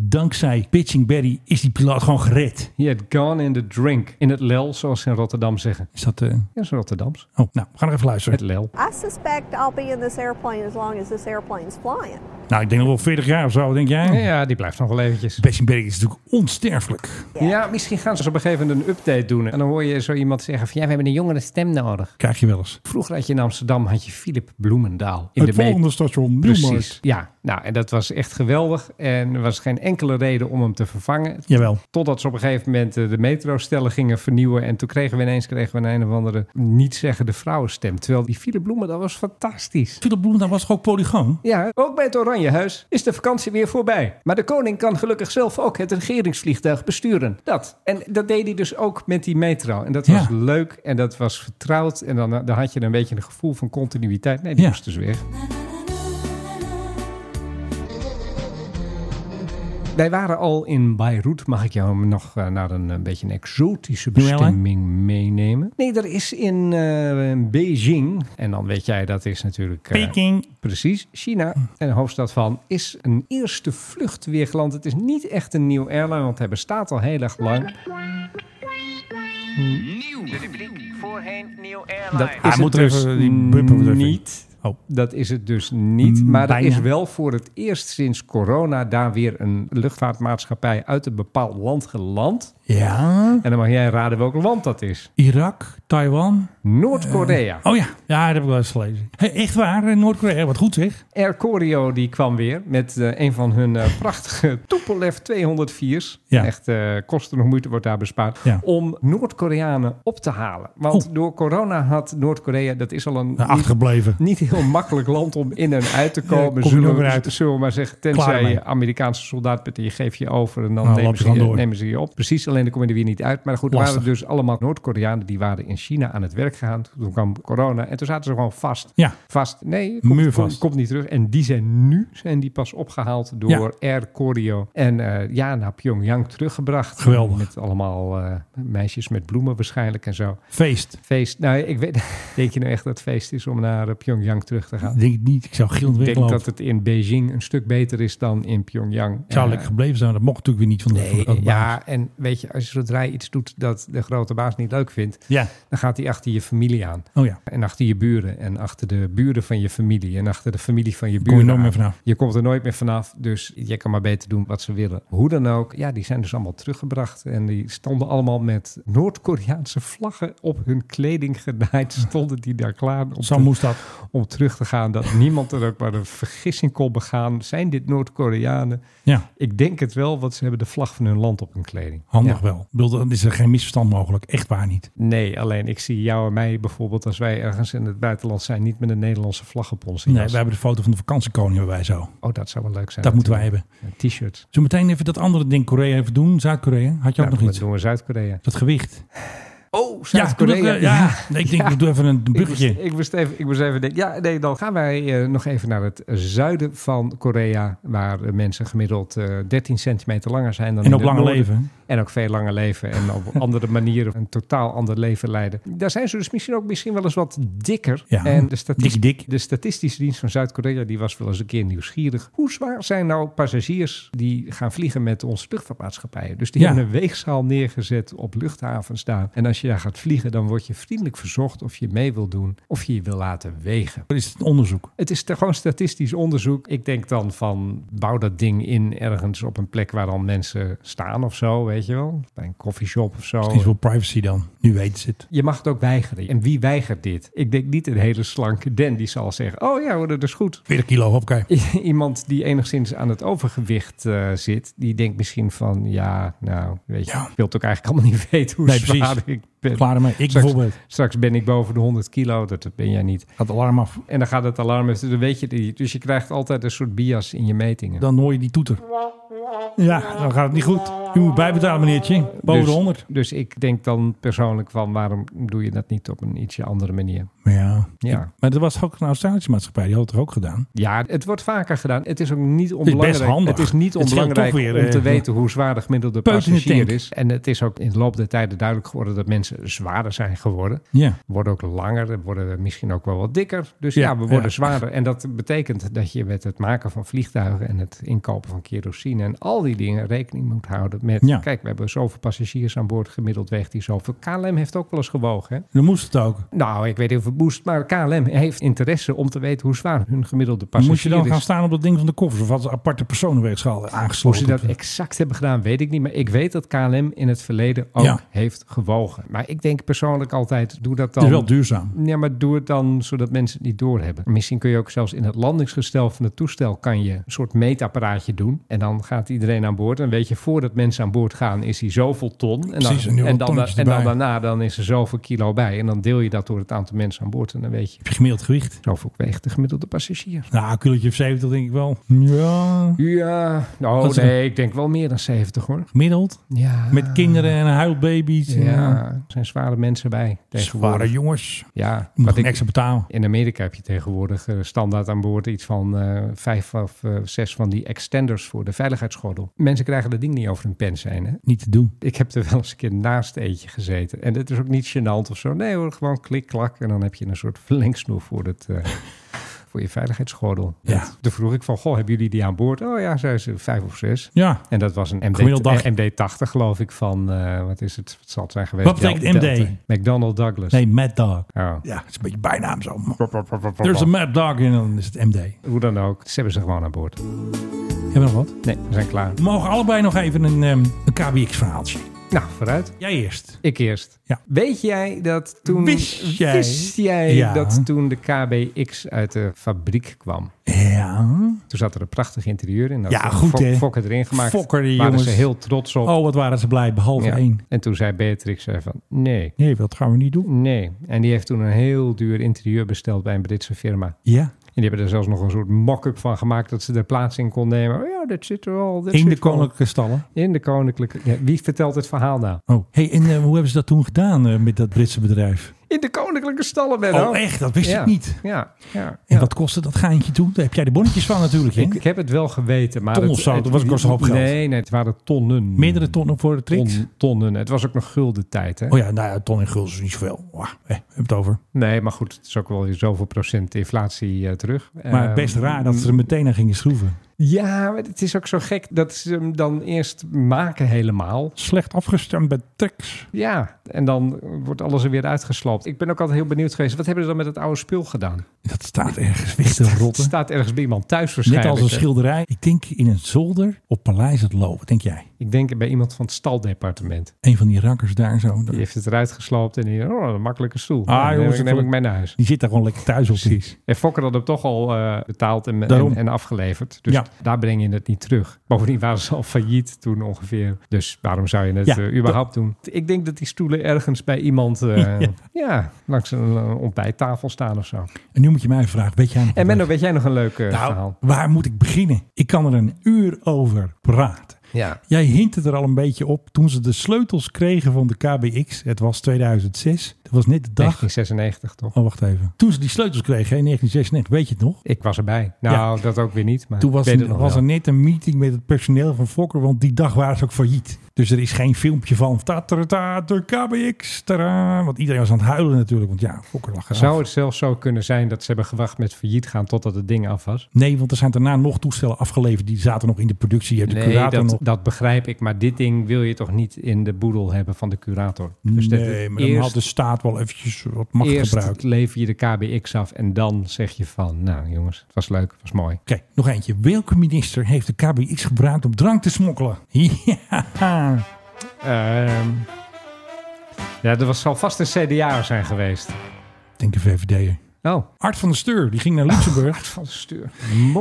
Speaker 5: Dankzij Bitching Betty is die piloot gewoon gered.
Speaker 6: He had gone in the drink. In het lel, zoals ze in Rotterdam zeggen.
Speaker 5: Is dat... eh,
Speaker 6: Ja, zo Rotterdams.
Speaker 5: Oh, nou, we gaan nog even luisteren.
Speaker 6: Het lel.
Speaker 13: I suspect I'll be in this airplane as long as this airplane's flying.
Speaker 5: Nou, ik denk nog wel 40 jaar of zo, denk jij?
Speaker 6: Ja, die blijft nog wel eventjes.
Speaker 5: Bitching Betty is natuurlijk onsterfelijk.
Speaker 6: Ja, misschien gaan ze op een gegeven moment een update doen. En dan hoor je zo iemand zeggen van... Ja, we hebben een jongere stem nodig.
Speaker 5: Krijg je wel eens.
Speaker 6: Vroeger had je in Amsterdam had je Philip Bloemendaal. In
Speaker 5: het
Speaker 6: meet-
Speaker 5: volgende station,
Speaker 6: Precies,
Speaker 5: Nieuwmarkt.
Speaker 6: ja. Nou, en dat was echt geweldig. En er was geen enkele reden om hem te vervangen.
Speaker 5: Jawel.
Speaker 6: Totdat ze op een gegeven moment eh, de metrostellen gingen vernieuwen. En toen kregen we ineens kregen we een, een of andere niet-zeggende vrouwenstem. Terwijl die Philip Bloemendaal was fantastisch.
Speaker 5: Philip Bloemendaal was toch ook polygoon?
Speaker 6: Ja, ook bij het Oranjehuis is de vakantie weer voorbij. Maar de koning kan gelukkig zelf ook het regeringsvliegtuig besturen. Dat. En dat deed hij dus ook met die metro. En dat
Speaker 5: Ja.
Speaker 6: was leuk en dat was vertrouwd. En dan, dan had je een beetje een gevoel van continuïteit. Nee, die
Speaker 5: Ja.
Speaker 6: moest dus weg. Wij waren al in Beirut. Mag ik jou nog eh, naar een, eh, beetje een exotische
Speaker 5: New York?
Speaker 6: bestemming meenemen? Nee, er is in eh, Beijing. En dan weet jij, dat is natuurlijk... eh,
Speaker 5: Peking.
Speaker 6: Precies, China,
Speaker 5: Hm.
Speaker 6: en de hoofdstad van, is een eerste vlucht weer geland. Het is niet echt een nieuw airline, want hij bestaat al heel erg lang.
Speaker 10: De rubriek voorheen Nieuw
Speaker 6: Dat
Speaker 10: Airline.
Speaker 6: is
Speaker 5: Hij
Speaker 6: het
Speaker 5: moet er
Speaker 6: dus
Speaker 5: even- die bumper moet er even in.
Speaker 6: niet.
Speaker 5: Oh.
Speaker 6: Dat is het dus niet.
Speaker 5: Mm,
Speaker 6: Maar er
Speaker 5: bijna.
Speaker 6: is wel voor het eerst sinds corona daar weer een luchtvaartmaatschappij uit een bepaald land geland.
Speaker 5: Ja.
Speaker 6: En dan mag jij raden welk land dat is.
Speaker 5: Irak, Taiwan.
Speaker 6: Noord-Korea.
Speaker 5: Eh, oh ja. ja, dat heb ik wel eens gelezen. Hé, echt waar, eh, Noord-Korea. Wat goed zeg.
Speaker 6: Air Corio die kwam weer met eh, een van hun eh, prachtige [laughs] Tupolev 204's.
Speaker 5: Ja.
Speaker 6: Echt eh, kosten nog moeite wordt daar bespaard.
Speaker 5: Ja.
Speaker 6: Om Noord-Koreanen op te halen. Want door corona had Noord-Korea, dat is al een
Speaker 5: Nou,
Speaker 6: niet,
Speaker 5: achtergebleven.
Speaker 6: niet heel makkelijk land om in en uit te
Speaker 5: Ja, kom
Speaker 6: komen.
Speaker 5: je
Speaker 6: zullen,
Speaker 5: nog
Speaker 6: we,
Speaker 5: weer uit.
Speaker 6: zullen we maar zeggen,
Speaker 5: Klaar
Speaker 6: tenzij
Speaker 5: ermee.
Speaker 6: je Amerikaanse soldaat bent en je geeft je over en dan
Speaker 5: Nou,
Speaker 6: nemen,
Speaker 5: lap je
Speaker 6: ze je,
Speaker 5: gewoon door.
Speaker 6: nemen ze je op. Precies, alleen dan kom je er weer niet uit. Maar goed, er waren
Speaker 5: Lastig.
Speaker 6: dus allemaal Noord-Koreanen die waren in China aan het werk gegaan. Toen kwam corona en toen zaten ze gewoon vast.
Speaker 5: Ja.
Speaker 6: Vast. Nee,
Speaker 5: Muurvast.
Speaker 6: Komt, komt niet terug. En die zijn nu zijn die pas opgehaald door Air Koryo. En eh, ja, naar Pyongyang teruggebracht.
Speaker 5: Geweldig.
Speaker 6: Met allemaal eh, meisjes met bloemen waarschijnlijk en zo.
Speaker 5: Feest.
Speaker 6: Feest. Nou, ik weet, [laughs] denk je nou echt dat het feest is om naar eh, Pyongyang terug te gaan?
Speaker 5: Denk ik niet. Ik zou gillend
Speaker 6: Ik denk
Speaker 5: weglopen.
Speaker 6: dat het in Beijing een stuk beter is dan in Pyongyang.
Speaker 5: Ik zou
Speaker 6: Eh,
Speaker 5: lekker gebleven zijn. [laughs] Dat mocht natuurlijk weer niet van de van de grote baas.
Speaker 6: ja, en weet je, als je zodra je iets doet dat de grote baas niet leuk vindt,
Speaker 5: Ja.
Speaker 6: dan gaat hij achter je familie aan.
Speaker 5: Oh ja.
Speaker 6: En achter je buren en achter de buren van je familie en achter de familie van je
Speaker 5: Kom je
Speaker 6: buren.
Speaker 5: nooit meer
Speaker 6: aan.
Speaker 5: vanaf.
Speaker 6: Je komt er nooit meer vanaf, dus je kan maar beter doen wat ze willen. Hoe dan ook, ja, die zijn dus allemaal teruggebracht en die stonden allemaal met Noord-Koreaanse vlaggen op hun
Speaker 5: [laughs]
Speaker 6: kleding genaaid. Stonden die daar klaar om,
Speaker 5: Zo
Speaker 6: te-
Speaker 5: moest dat.
Speaker 6: om terug te gaan, dat niemand er ook maar een vergissing kon begaan. Zijn dit Noord-Koreanen?
Speaker 5: Ja.
Speaker 6: Ik denk het wel, want ze hebben de vlag van hun land op hun kleding.
Speaker 5: Handig
Speaker 6: Ja.
Speaker 5: wel. Ik bedoel, dan is er geen misverstand mogelijk. Echt waar niet.
Speaker 6: Nee, alleen ik zie jou en mij bijvoorbeeld als wij ergens in het buitenland zijn, niet met een Nederlandse vlag op ons.
Speaker 5: Nee, wij hebben de foto van de vakantiekoning hebben wij zo.
Speaker 6: Oh, dat zou wel leuk zijn.
Speaker 5: Dat moeten wij
Speaker 6: natuurlijk.
Speaker 5: hebben.
Speaker 6: Een t-shirt.
Speaker 5: Zo meteen even dat andere ding Korea even doen. Zuid-Korea. Had je ook
Speaker 6: Nou,
Speaker 5: nog iets?
Speaker 6: Dat doen we Zuid-Korea.
Speaker 5: Dat
Speaker 6: [laughs]
Speaker 5: gewicht.
Speaker 6: Oh,
Speaker 5: Ja, doe ik, eh, ja. Nee, ik denk, ik doe even een
Speaker 6: Ik
Speaker 5: buggetje.
Speaker 6: moest, ik moest even, ik moest even denken. Ja, nee, dan gaan wij eh, nog even naar het zuiden van Korea. Waar eh, mensen gemiddeld eh 13 centimeter langer zijn dan
Speaker 5: En
Speaker 6: in
Speaker 5: ook
Speaker 6: het
Speaker 5: langer
Speaker 6: noorden.
Speaker 5: leven.
Speaker 6: En ook veel langer leven. En op
Speaker 5: [laughs]
Speaker 6: andere manieren een totaal ander leven leiden. Daar zijn ze dus misschien ook misschien wel eens wat dikker.
Speaker 5: Ja,
Speaker 6: en de, statis-
Speaker 5: dik, dik.
Speaker 6: de Statistische Dienst van Zuid-Korea die was wel eens een keer nieuwsgierig. Hoe zwaar zijn nou passagiers die gaan vliegen met onze luchtvaartmaatschappijen? Dus die
Speaker 5: Ja.
Speaker 6: hebben een weegzaal neergezet op luchthavens daar. En als je daar gaat vliegen, dan word je vriendelijk verzocht of je mee wil doen of je je wil laten wegen.
Speaker 5: Dat is het onderzoek.
Speaker 6: Het is te- gewoon statistisch onderzoek. Ik denk dan van bouw dat ding in ergens op een plek waar dan mensen staan of zo, weet je wel. Bij een koffieshop of zo.
Speaker 5: Misschien is wel privacy dan. Nu weten ze het.
Speaker 6: Je mag het ook weigeren. En wie weigert dit? Ik denk niet een hele slanke Den die zal zeggen: Oh ja, hoor, dat is goed.
Speaker 5: 40 kilo, oké.
Speaker 6: I- [laughs] Iemand die enigszins aan het overgewicht eh, zit, die denkt misschien van: Ja, nou, weet je,
Speaker 5: Ja.
Speaker 6: ik wil het ook eigenlijk allemaal niet [laughs] weten hoe
Speaker 5: Nee,
Speaker 6: zwaar
Speaker 5: precies.
Speaker 6: ik ben.
Speaker 5: Klaar ermee. Ik
Speaker 6: Straks-
Speaker 5: bijvoorbeeld.
Speaker 6: Straks ben ik boven de 100 kilo, dat ben jij niet.
Speaker 5: Gaat het alarm af.
Speaker 6: En dan gaat het alarm, dus dan weet je het niet. Dus je krijgt altijd een soort bias in je metingen.
Speaker 5: Dan hoor je die toeter. Ja, dan gaat het niet goed. U moet bijbetalen, meneertje. Boven
Speaker 6: dus,
Speaker 5: de 100.
Speaker 6: Dus ik denk dan persoonlijk van: waarom doe je dat niet op een ietsje andere manier?
Speaker 5: Ja.
Speaker 6: Ja.
Speaker 5: Maar dat was ook een Australische maatschappij. Die had het er ook gedaan.
Speaker 6: Ja, het wordt vaker gedaan. Het is ook niet
Speaker 5: best
Speaker 6: onbelangrijk.
Speaker 5: handig.
Speaker 6: Het is niet
Speaker 5: Het scheelt
Speaker 6: onbelangrijk
Speaker 5: toch weer,
Speaker 6: om te
Speaker 5: eh,
Speaker 6: weten hoe zwaar de gemiddelde
Speaker 5: Peut in de
Speaker 6: passagier
Speaker 5: tank.
Speaker 6: is. En het is ook in de loop der tijden duidelijk geworden dat mensen zwaarder zijn geworden.
Speaker 5: Ja.
Speaker 6: Worden ook langer, worden misschien ook wel wat dikker. Dus ja,
Speaker 5: Ja,
Speaker 6: we worden
Speaker 5: ja.
Speaker 6: zwaarder. En dat betekent dat je met het maken van vliegtuigen en het inkopen van kerosine en al die dingen rekening moet houden met...
Speaker 5: Ja.
Speaker 6: Kijk, we hebben zoveel passagiers aan boord gemiddeld weg die zoveel... KLM heeft ook wel eens gewogen, hè?
Speaker 5: Dan moest het ook.
Speaker 6: Nou, ik weet niet of het moest, maar KLM heeft interesse om te weten hoe zwaar hun gemiddelde passagier
Speaker 5: Moest je dan
Speaker 6: is.
Speaker 5: gaan staan op dat ding van de koffers? Of had ze een aparte personenweegschaal
Speaker 6: Hoe ze
Speaker 5: aangesloten?
Speaker 6: dat exact hebben gedaan, weet ik niet. Maar ik weet dat KLM in het verleden ook
Speaker 5: Ja.
Speaker 6: heeft gewogen. Maar ik denk persoonlijk altijd, doe dat
Speaker 5: Het
Speaker 6: dan...
Speaker 5: is wel duurzaam.
Speaker 6: Ja, maar doe het dan zodat mensen het niet doorhebben. Misschien kun je ook zelfs in het landingsgestel van het toestel... kan je een soort meetapparaatje doen. En dan gaat iedereen aan boord. En weet je, voordat mensen aan boord gaan, is hij zoveel ton. En
Speaker 5: Precies, en
Speaker 6: dan,
Speaker 5: nu wat
Speaker 6: en dan,
Speaker 5: tonnetjes
Speaker 6: en dan
Speaker 5: erbij.
Speaker 6: daarna dan is er zoveel kilo bij. En dan deel je dat door het aantal mensen aan boord. En dan weet je,
Speaker 5: Heb je gemiddeld gewicht?
Speaker 6: zoveel weegt de gemiddelde passagier.
Speaker 5: Nou, een kilootje of 70 denk ik wel. Ja.
Speaker 6: Ja,
Speaker 5: Dat
Speaker 6: nou
Speaker 5: is een-
Speaker 6: nee, ik denk wel meer dan 70 hoor.
Speaker 5: Gemiddeld?
Speaker 6: Ja.
Speaker 5: Met kinderen en huilbaby's.
Speaker 6: Ah. Ja, er zijn zware mensen bij tegenwoordig.
Speaker 5: Zware jongens.
Speaker 6: Ja,
Speaker 5: Moet
Speaker 6: wat
Speaker 5: ik
Speaker 6: ik,
Speaker 5: extra betalen.
Speaker 6: in Amerika heb je tegenwoordig eh, standaard aan boord iets van eh, vijf of eh, zes van die extenders voor de veiligheidsgordel. Mensen krijgen dat ding niet over hun pen zijn. Hè?
Speaker 5: Niet te doen.
Speaker 6: Ik heb er wel eens een keer naast eentje gezeten. En het is ook niet gênant of zo. Nee hoor, gewoon klik, klak. En dan heb je een soort verlengsnoer voor, het, eh, voor je veiligheidsgordel.
Speaker 5: Ja.
Speaker 6: Dat- Toen vroeg ik van, goh, hebben jullie die aan boord? Oh ja, zei ze, vijf of zes.
Speaker 5: Ja.
Speaker 6: En dat was een MD,
Speaker 5: Gemiddeld dag.
Speaker 6: een MD80, geloof ik, van, eh, wat is het, wat zal het zijn geweest?
Speaker 5: Wat betekent
Speaker 6: Del-
Speaker 5: MD?
Speaker 6: Delta. McDonald Douglas.
Speaker 5: Nee, Mad Dog.
Speaker 6: Oh.
Speaker 5: Ja, dat is een beetje bijnaam zo. There's a Mad Dog en dan is het MD.
Speaker 6: Hoe dan ook, ze hebben ze gewoon aan boord.
Speaker 5: Hebben we nog wat?
Speaker 6: Nee, we zijn klaar.
Speaker 5: We mogen allebei nog even een, ehm, een KBX-verhaaltje.
Speaker 6: Nou, vooruit.
Speaker 5: Jij eerst.
Speaker 6: Ik eerst.
Speaker 5: Ja.
Speaker 6: Weet jij dat toen...
Speaker 5: Wist jij?
Speaker 6: Wist jij
Speaker 5: Ja.
Speaker 6: dat toen de KBX uit de fabriek kwam?
Speaker 5: Ja.
Speaker 6: Toen zat er een prachtig interieur in. Dat
Speaker 5: Ja,
Speaker 6: had
Speaker 5: goed,
Speaker 6: Fok-
Speaker 5: hè?
Speaker 6: Fokker erin gemaakt.
Speaker 5: Fokker, die
Speaker 6: Waren
Speaker 5: jongens.
Speaker 6: ze heel trots op.
Speaker 5: Oh, wat waren ze blij, behalve
Speaker 6: Ja.
Speaker 5: één.
Speaker 6: En toen zei Beatrix zei van nee.
Speaker 5: Nee, dat gaan we niet doen.
Speaker 6: Nee. En die heeft toen een heel duur interieur besteld bij een Britse firma.
Speaker 5: Ja.
Speaker 6: En die hebben er zelfs nog een soort mock-up van gemaakt dat ze er plaats in kon nemen. Oh ja, dat zit er al. dat
Speaker 5: In de
Speaker 6: zit er al.
Speaker 5: koninklijke stallen.
Speaker 6: In de koninklijke. Ja, wie vertelt het verhaal nou?
Speaker 5: Oh, hey, en eh, hoe hebben ze dat toen gedaan eh, met dat Britse bedrijf?
Speaker 6: In de koninklijke stallen ben
Speaker 5: Oh, echt? Dat wist
Speaker 6: ja.
Speaker 5: ik niet.
Speaker 6: Ja, ja.
Speaker 5: En wat kostte dat gaantje toen? Daar heb jij de bonnetjes van natuurlijk, hè?
Speaker 6: Ik, ik heb het wel geweten, maar...
Speaker 5: Ton
Speaker 6: het-
Speaker 5: of zo,
Speaker 6: het-
Speaker 5: dat was- kost een hoop geld.
Speaker 6: Nee, nee, het waren tonnen.
Speaker 5: Meerdere tonnen voor de tricks?
Speaker 6: Ton- tonnen. Het was ook nog gulden tijd, hè?
Speaker 5: Oh ja, nou ja, ton in gulden is niet zoveel. Wah, eh, heb het over.
Speaker 6: Nee, maar goed, het is ook wel weer zoveel procent inflatie eh, terug.
Speaker 5: Maar
Speaker 6: Ehm,
Speaker 5: best raar dat ze er meteen aan gingen schroeven.
Speaker 6: Ja, maar het is ook zo gek dat ze hem dan eerst maken helemaal.
Speaker 5: Slecht afgestemd bij tricks.
Speaker 6: Ja, en dan wordt alles er weer uitgesloopt. Ik ben ook altijd heel benieuwd geweest. Wat hebben ze dan met het oude spul gedaan?
Speaker 5: Dat staat ergens weg te
Speaker 6: Het
Speaker 5: rotten.
Speaker 6: staat ergens bij iemand thuis
Speaker 5: Net
Speaker 6: waarschijnlijk.
Speaker 5: als een
Speaker 6: hè?
Speaker 5: schilderij. Ik denk in een zolder op Paleis het Loo. Wat denk jij?
Speaker 6: Ik denk bij iemand van het staldepartement.
Speaker 5: Een van die rakkers daar zo.
Speaker 6: Die heeft het eruit gesloopt en die oh, een makkelijke
Speaker 5: Ah,
Speaker 6: stoel. Ah,
Speaker 5: jongens,
Speaker 6: jongens, neem
Speaker 5: het-
Speaker 6: ik mee naar huis.
Speaker 5: Die zit daar gewoon lekker thuis op.
Speaker 6: Precies. En Fokker had hem toch al eh, betaald en,
Speaker 5: Daarom.
Speaker 6: en, en afgeleverd. Dus
Speaker 5: Ja.
Speaker 6: daar breng je het niet terug. Bovendien waren ze al failliet toen ongeveer. Dus waarom zou je het
Speaker 5: Ja,
Speaker 6: eh, überhaupt doen? Ik denk dat die stoelen ergens bij iemand eh,
Speaker 5: [laughs]
Speaker 6: ja. langs een eh, ontbijttafel staan of zo.
Speaker 5: En nu moet je mij vragen. Weet jij nog
Speaker 6: En
Speaker 5: wat
Speaker 6: Menno, weet jij nog een leuk eh,
Speaker 5: Nou,
Speaker 6: verhaal?
Speaker 5: waar moet ik beginnen? Ik kan er een uur over praten.
Speaker 6: Ja.
Speaker 5: Jij hint het er al een beetje op. Toen ze de sleutels kregen van de KBX, het was 2006. Dat was net de dag.
Speaker 6: 1996 toch?
Speaker 5: Oh, wacht even. Toen ze die sleutels kregen hè, in 1996, weet je het nog?
Speaker 6: Ik was erbij. Nou, dat ook weer niet. Maar
Speaker 5: Toen was,
Speaker 6: ik weet het nog
Speaker 5: was
Speaker 6: wel.
Speaker 5: er net een meeting met het personeel van Fokker, want die dag waren ze ook failliet. Dus er is geen filmpje van ta ta ta, de KBX, tada. Want iedereen was aan het huilen natuurlijk, want ja, Fokker lag eraf.
Speaker 6: Zou het zelfs zo kunnen zijn dat ze hebben gewacht met failliet gaan totdat het ding af was?
Speaker 5: Nee, want er zijn daarna nog toestellen afgeleverd, die zaten nog in de productie. Je hebt de
Speaker 6: Nee,
Speaker 5: curator
Speaker 6: dat,
Speaker 5: nog.
Speaker 6: dat begrijp ik. Maar dit ding wil je toch niet in de boedel hebben van de curator? Dus dat-
Speaker 5: nee, maar dan had
Speaker 6: eerst,
Speaker 5: de staat wel eventjes wat macht
Speaker 6: eerst
Speaker 5: gebruikt.
Speaker 6: lever je de KBX af en dan zeg je van... Nou jongens, het was leuk, het was mooi.
Speaker 5: Oké, nog eentje. Welke minister heeft de KBX gebruikt om drank te smokkelen? [laughs] Ja.
Speaker 6: Ehm, ja, er was, zal vast een CDA zijn geweest.
Speaker 5: Ik denk de VVD'er.
Speaker 6: Oh,
Speaker 5: Art van der Steur, die ging naar Luxemburg.
Speaker 6: van de stuur.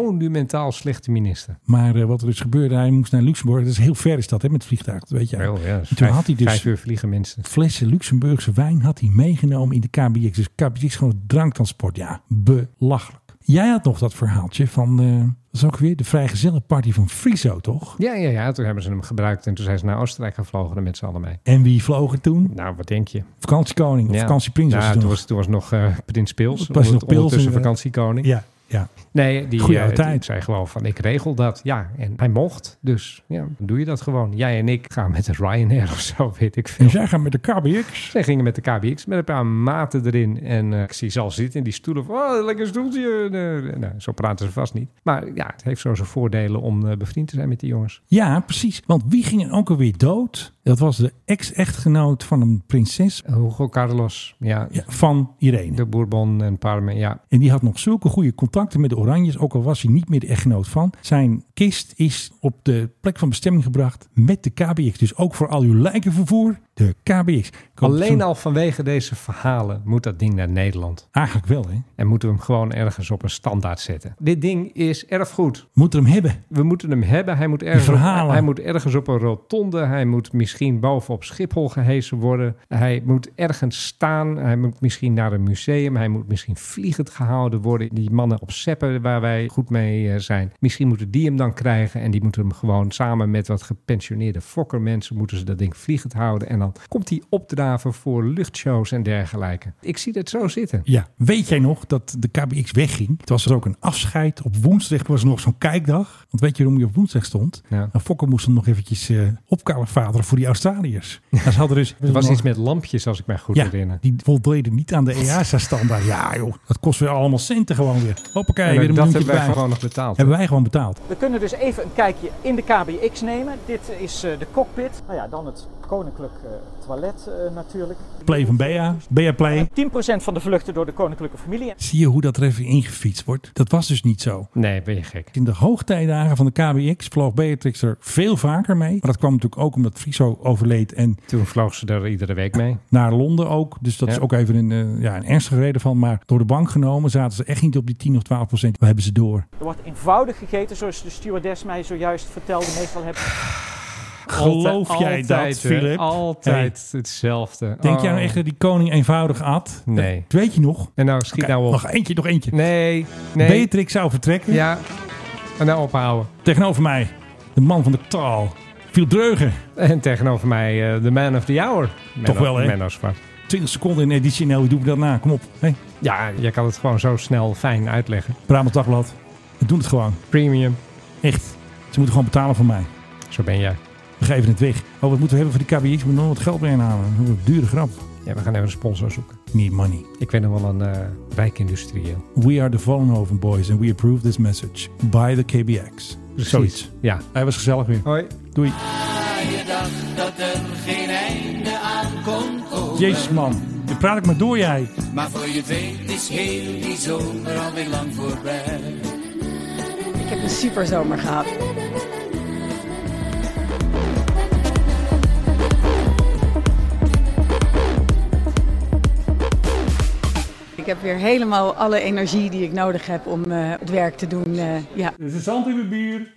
Speaker 6: Monumentaal slechte minister.
Speaker 5: Maar eh, wat er dus gebeurde, hij moest naar Luxemburg. Dat is heel ver is dat, hè, met het vliegtuig. Dat weet jij.
Speaker 6: Oh, ja, dat is
Speaker 5: En toen
Speaker 6: vijf,
Speaker 5: had hij dus-
Speaker 6: vijf uur vliegen mensen.
Speaker 5: Flessen Luxemburgse wijn had hij meegenomen in de KBX. Dus KBX is gewoon dranktransport. Ja, belachelijk. Jij had nog dat verhaaltje van, eh dat is ook weer de vrijgezellenparty van Friso, toch?
Speaker 6: Ja, ja, ja. Toen hebben ze hem gebruikt en toen zijn ze naar Oostenrijk gevlogen er met z'n allen mee.
Speaker 5: En wie vloog er toen?
Speaker 6: Nou, wat denk je?
Speaker 5: Vakantiekoning of
Speaker 6: Ja.
Speaker 5: vakantieprins was
Speaker 6: Ja,
Speaker 5: het
Speaker 6: toen
Speaker 5: nog.
Speaker 6: was, toen was nog eh, Prins Pils.
Speaker 5: Toen was
Speaker 6: Was
Speaker 5: nog
Speaker 6: nog
Speaker 5: Pils,
Speaker 6: ondertussen
Speaker 5: inderdaad.
Speaker 6: vakantiekoning.
Speaker 5: Ja, ja.
Speaker 6: Nee, die,
Speaker 5: Goeie oude
Speaker 6: eh, die
Speaker 5: tijd.
Speaker 6: zei gewoon van ik regel dat. Ja, en hij mocht. Dus ja, dan doe je dat gewoon. Jij en ik gaan met de Ryanair [laughs] of zo, weet ik veel.
Speaker 5: En zij gaan met de KBX.
Speaker 6: Zij gingen met de KBX met een paar maten erin. En eh, ik zie ze al zitten in die stoelen. Van, oh, lekker stoeltje. Eh, eh, nou, zo praten ze vast niet. Maar ja, het heeft zo zijn voordelen om eh, bevriend te zijn met die jongens.
Speaker 5: Ja, precies. Want wie ging er ook alweer dood? Dat was de ex-echtgenoot van een prinses
Speaker 6: Hugo Carlos, ja.
Speaker 5: ja, van Irene.
Speaker 6: De Bourbon en Parme, ja.
Speaker 5: En die had nog zulke goede contacten met de Oranjes, ook al was hij niet meer de echtgenoot van. Zijn kist is op de plek van bestemming gebracht met de KBX. Dus ook voor al uw lijkenvervoer, de KBX. Ik hoop
Speaker 6: Alleen
Speaker 5: zo-
Speaker 6: al vanwege deze verhalen moet dat ding naar Nederland.
Speaker 5: Eigenlijk wel, hè?
Speaker 6: En moeten we hem gewoon ergens op een standaard zetten. Dit ding is erfgoed.
Speaker 5: Moet er hem hebben.
Speaker 6: We moeten hem hebben. Hij moet, ergens op,
Speaker 5: verhalen.
Speaker 6: hij moet ergens op een rotonde. Hij moet misschien bovenop Schiphol gehesen worden. Hij moet ergens staan. Hij moet misschien naar een museum. Hij moet misschien vliegend gehouden worden. Die mannen op Seppen waar wij goed mee eh, zijn. Misschien moeten die hem dan krijgen. En die moeten hem gewoon samen met wat gepensioneerde fokkermensen... moeten ze dat ding vliegend houden. En dan komt hij opdraven voor luchtshows en dergelijke. Ik zie dat zo zitten.
Speaker 5: Ja, weet jij nog dat de KBX wegging? Het was er ook een afscheid. Op woensdag was er nog zo'n kijkdag. Want weet je waarom je op woensdag stond?
Speaker 6: Ja.
Speaker 5: Nou, Fokker moest hem nog eventjes eh opkalfateren voor die Australiërs. Nou, ze hadden dus...
Speaker 6: [laughs] Er was iets met lampjes, als ik mij goed
Speaker 5: Ja,
Speaker 6: herinner.
Speaker 5: die voldeden niet aan de E EASA-standaard. Ja joh, dat kost weer allemaal centen gewoon weer. Hoppakee,
Speaker 6: En
Speaker 5: weer een
Speaker 6: dat
Speaker 5: miljoentje
Speaker 6: hebben wij
Speaker 5: erbij.
Speaker 6: gewoon nog betaald.
Speaker 5: Hebben wij gewoon betaald.
Speaker 3: We kunnen dus even een kijkje in de KBX nemen. Dit is eh, de cockpit. Nou ja, dan het koninklijk eh, toilet eh, natuurlijk.
Speaker 5: Play van Bea. Bea Play.
Speaker 3: 10% van de vluchten door de koninklijke familie.
Speaker 5: Zie je hoe dat er even ingefietst wordt? Dat was dus niet zo.
Speaker 6: Nee, ben je gek.
Speaker 5: In de hoogtijdagen van de KBX vloog Beatrix er veel vaker mee. Maar dat kwam natuurlijk ook omdat Friso overleed en
Speaker 6: Toen vloog ze daar iedere week mee.
Speaker 5: naar Londen ook. Dus dat
Speaker 6: Ja.
Speaker 5: is ook even een, eh, ja, een ernstige reden van. Maar door de bank genomen zaten ze echt niet op die 10 of 12 procent. We hebben ze door.
Speaker 3: Er wordt eenvoudig gegeten, zoals de stewardess mij zojuist vertelde. Meestal heb
Speaker 5: Geloof
Speaker 6: Altijd,
Speaker 5: jij dat,
Speaker 6: hè.
Speaker 5: Philip?
Speaker 6: Altijd hetzelfde.
Speaker 5: Denk jij
Speaker 6: Oh.
Speaker 5: nou echt dat die koning eenvoudig at?
Speaker 6: Nee.
Speaker 5: Dat weet je nog?
Speaker 6: En nou, schiet
Speaker 5: Oké,
Speaker 6: nou op.
Speaker 5: Nog eentje, nog eentje.
Speaker 6: Nee, nee.
Speaker 5: Beatrix zou vertrekken.
Speaker 6: Ja. En nou ophouden.
Speaker 5: Tegenover mij, de man van de taal. Viel Dreugen.
Speaker 6: En tegenover mij eh, de man of the hour. Menno-
Speaker 5: wel, hè?
Speaker 6: Menno Zwart.
Speaker 5: 20 seconden in editioneel. Hoe doen we dat na? Kom op. Hey,
Speaker 6: Ja, jij kan het gewoon zo snel fijn uitleggen.
Speaker 5: Brabant Dagblad. We doen het gewoon.
Speaker 6: Premium.
Speaker 5: Echt. Ze moeten gewoon betalen voor mij.
Speaker 6: Zo ben jij.
Speaker 5: We geven het weg. Oh, wat moeten we hebben voor die KBX? We moeten nog wat geld bij inhalen. Hoe een Dure grap.
Speaker 6: Ja, we gaan even een sponsor zoeken.
Speaker 5: Need money.
Speaker 6: Ik weet nog wel een eh, rijk industrieel.
Speaker 5: We are the Vollenhoven boys and we approve this message. By the KBX. Zoiets.
Speaker 6: Ja.
Speaker 5: Hij was gezellig weer.
Speaker 6: Hoi.
Speaker 5: Doei.
Speaker 8: Je dacht dat er geen einde aan kon komen.
Speaker 5: Jezus man. Je praat ik maar door jij.
Speaker 8: Maar voor je het weet is heel die zomer alweer lang voorbij.
Speaker 4: Ik heb een super zomer gehad. Ik heb weer helemaal alle energie die ik nodig heb om eh, het werk te doen. eh, ja.
Speaker 5: Er is zand in mijn bier.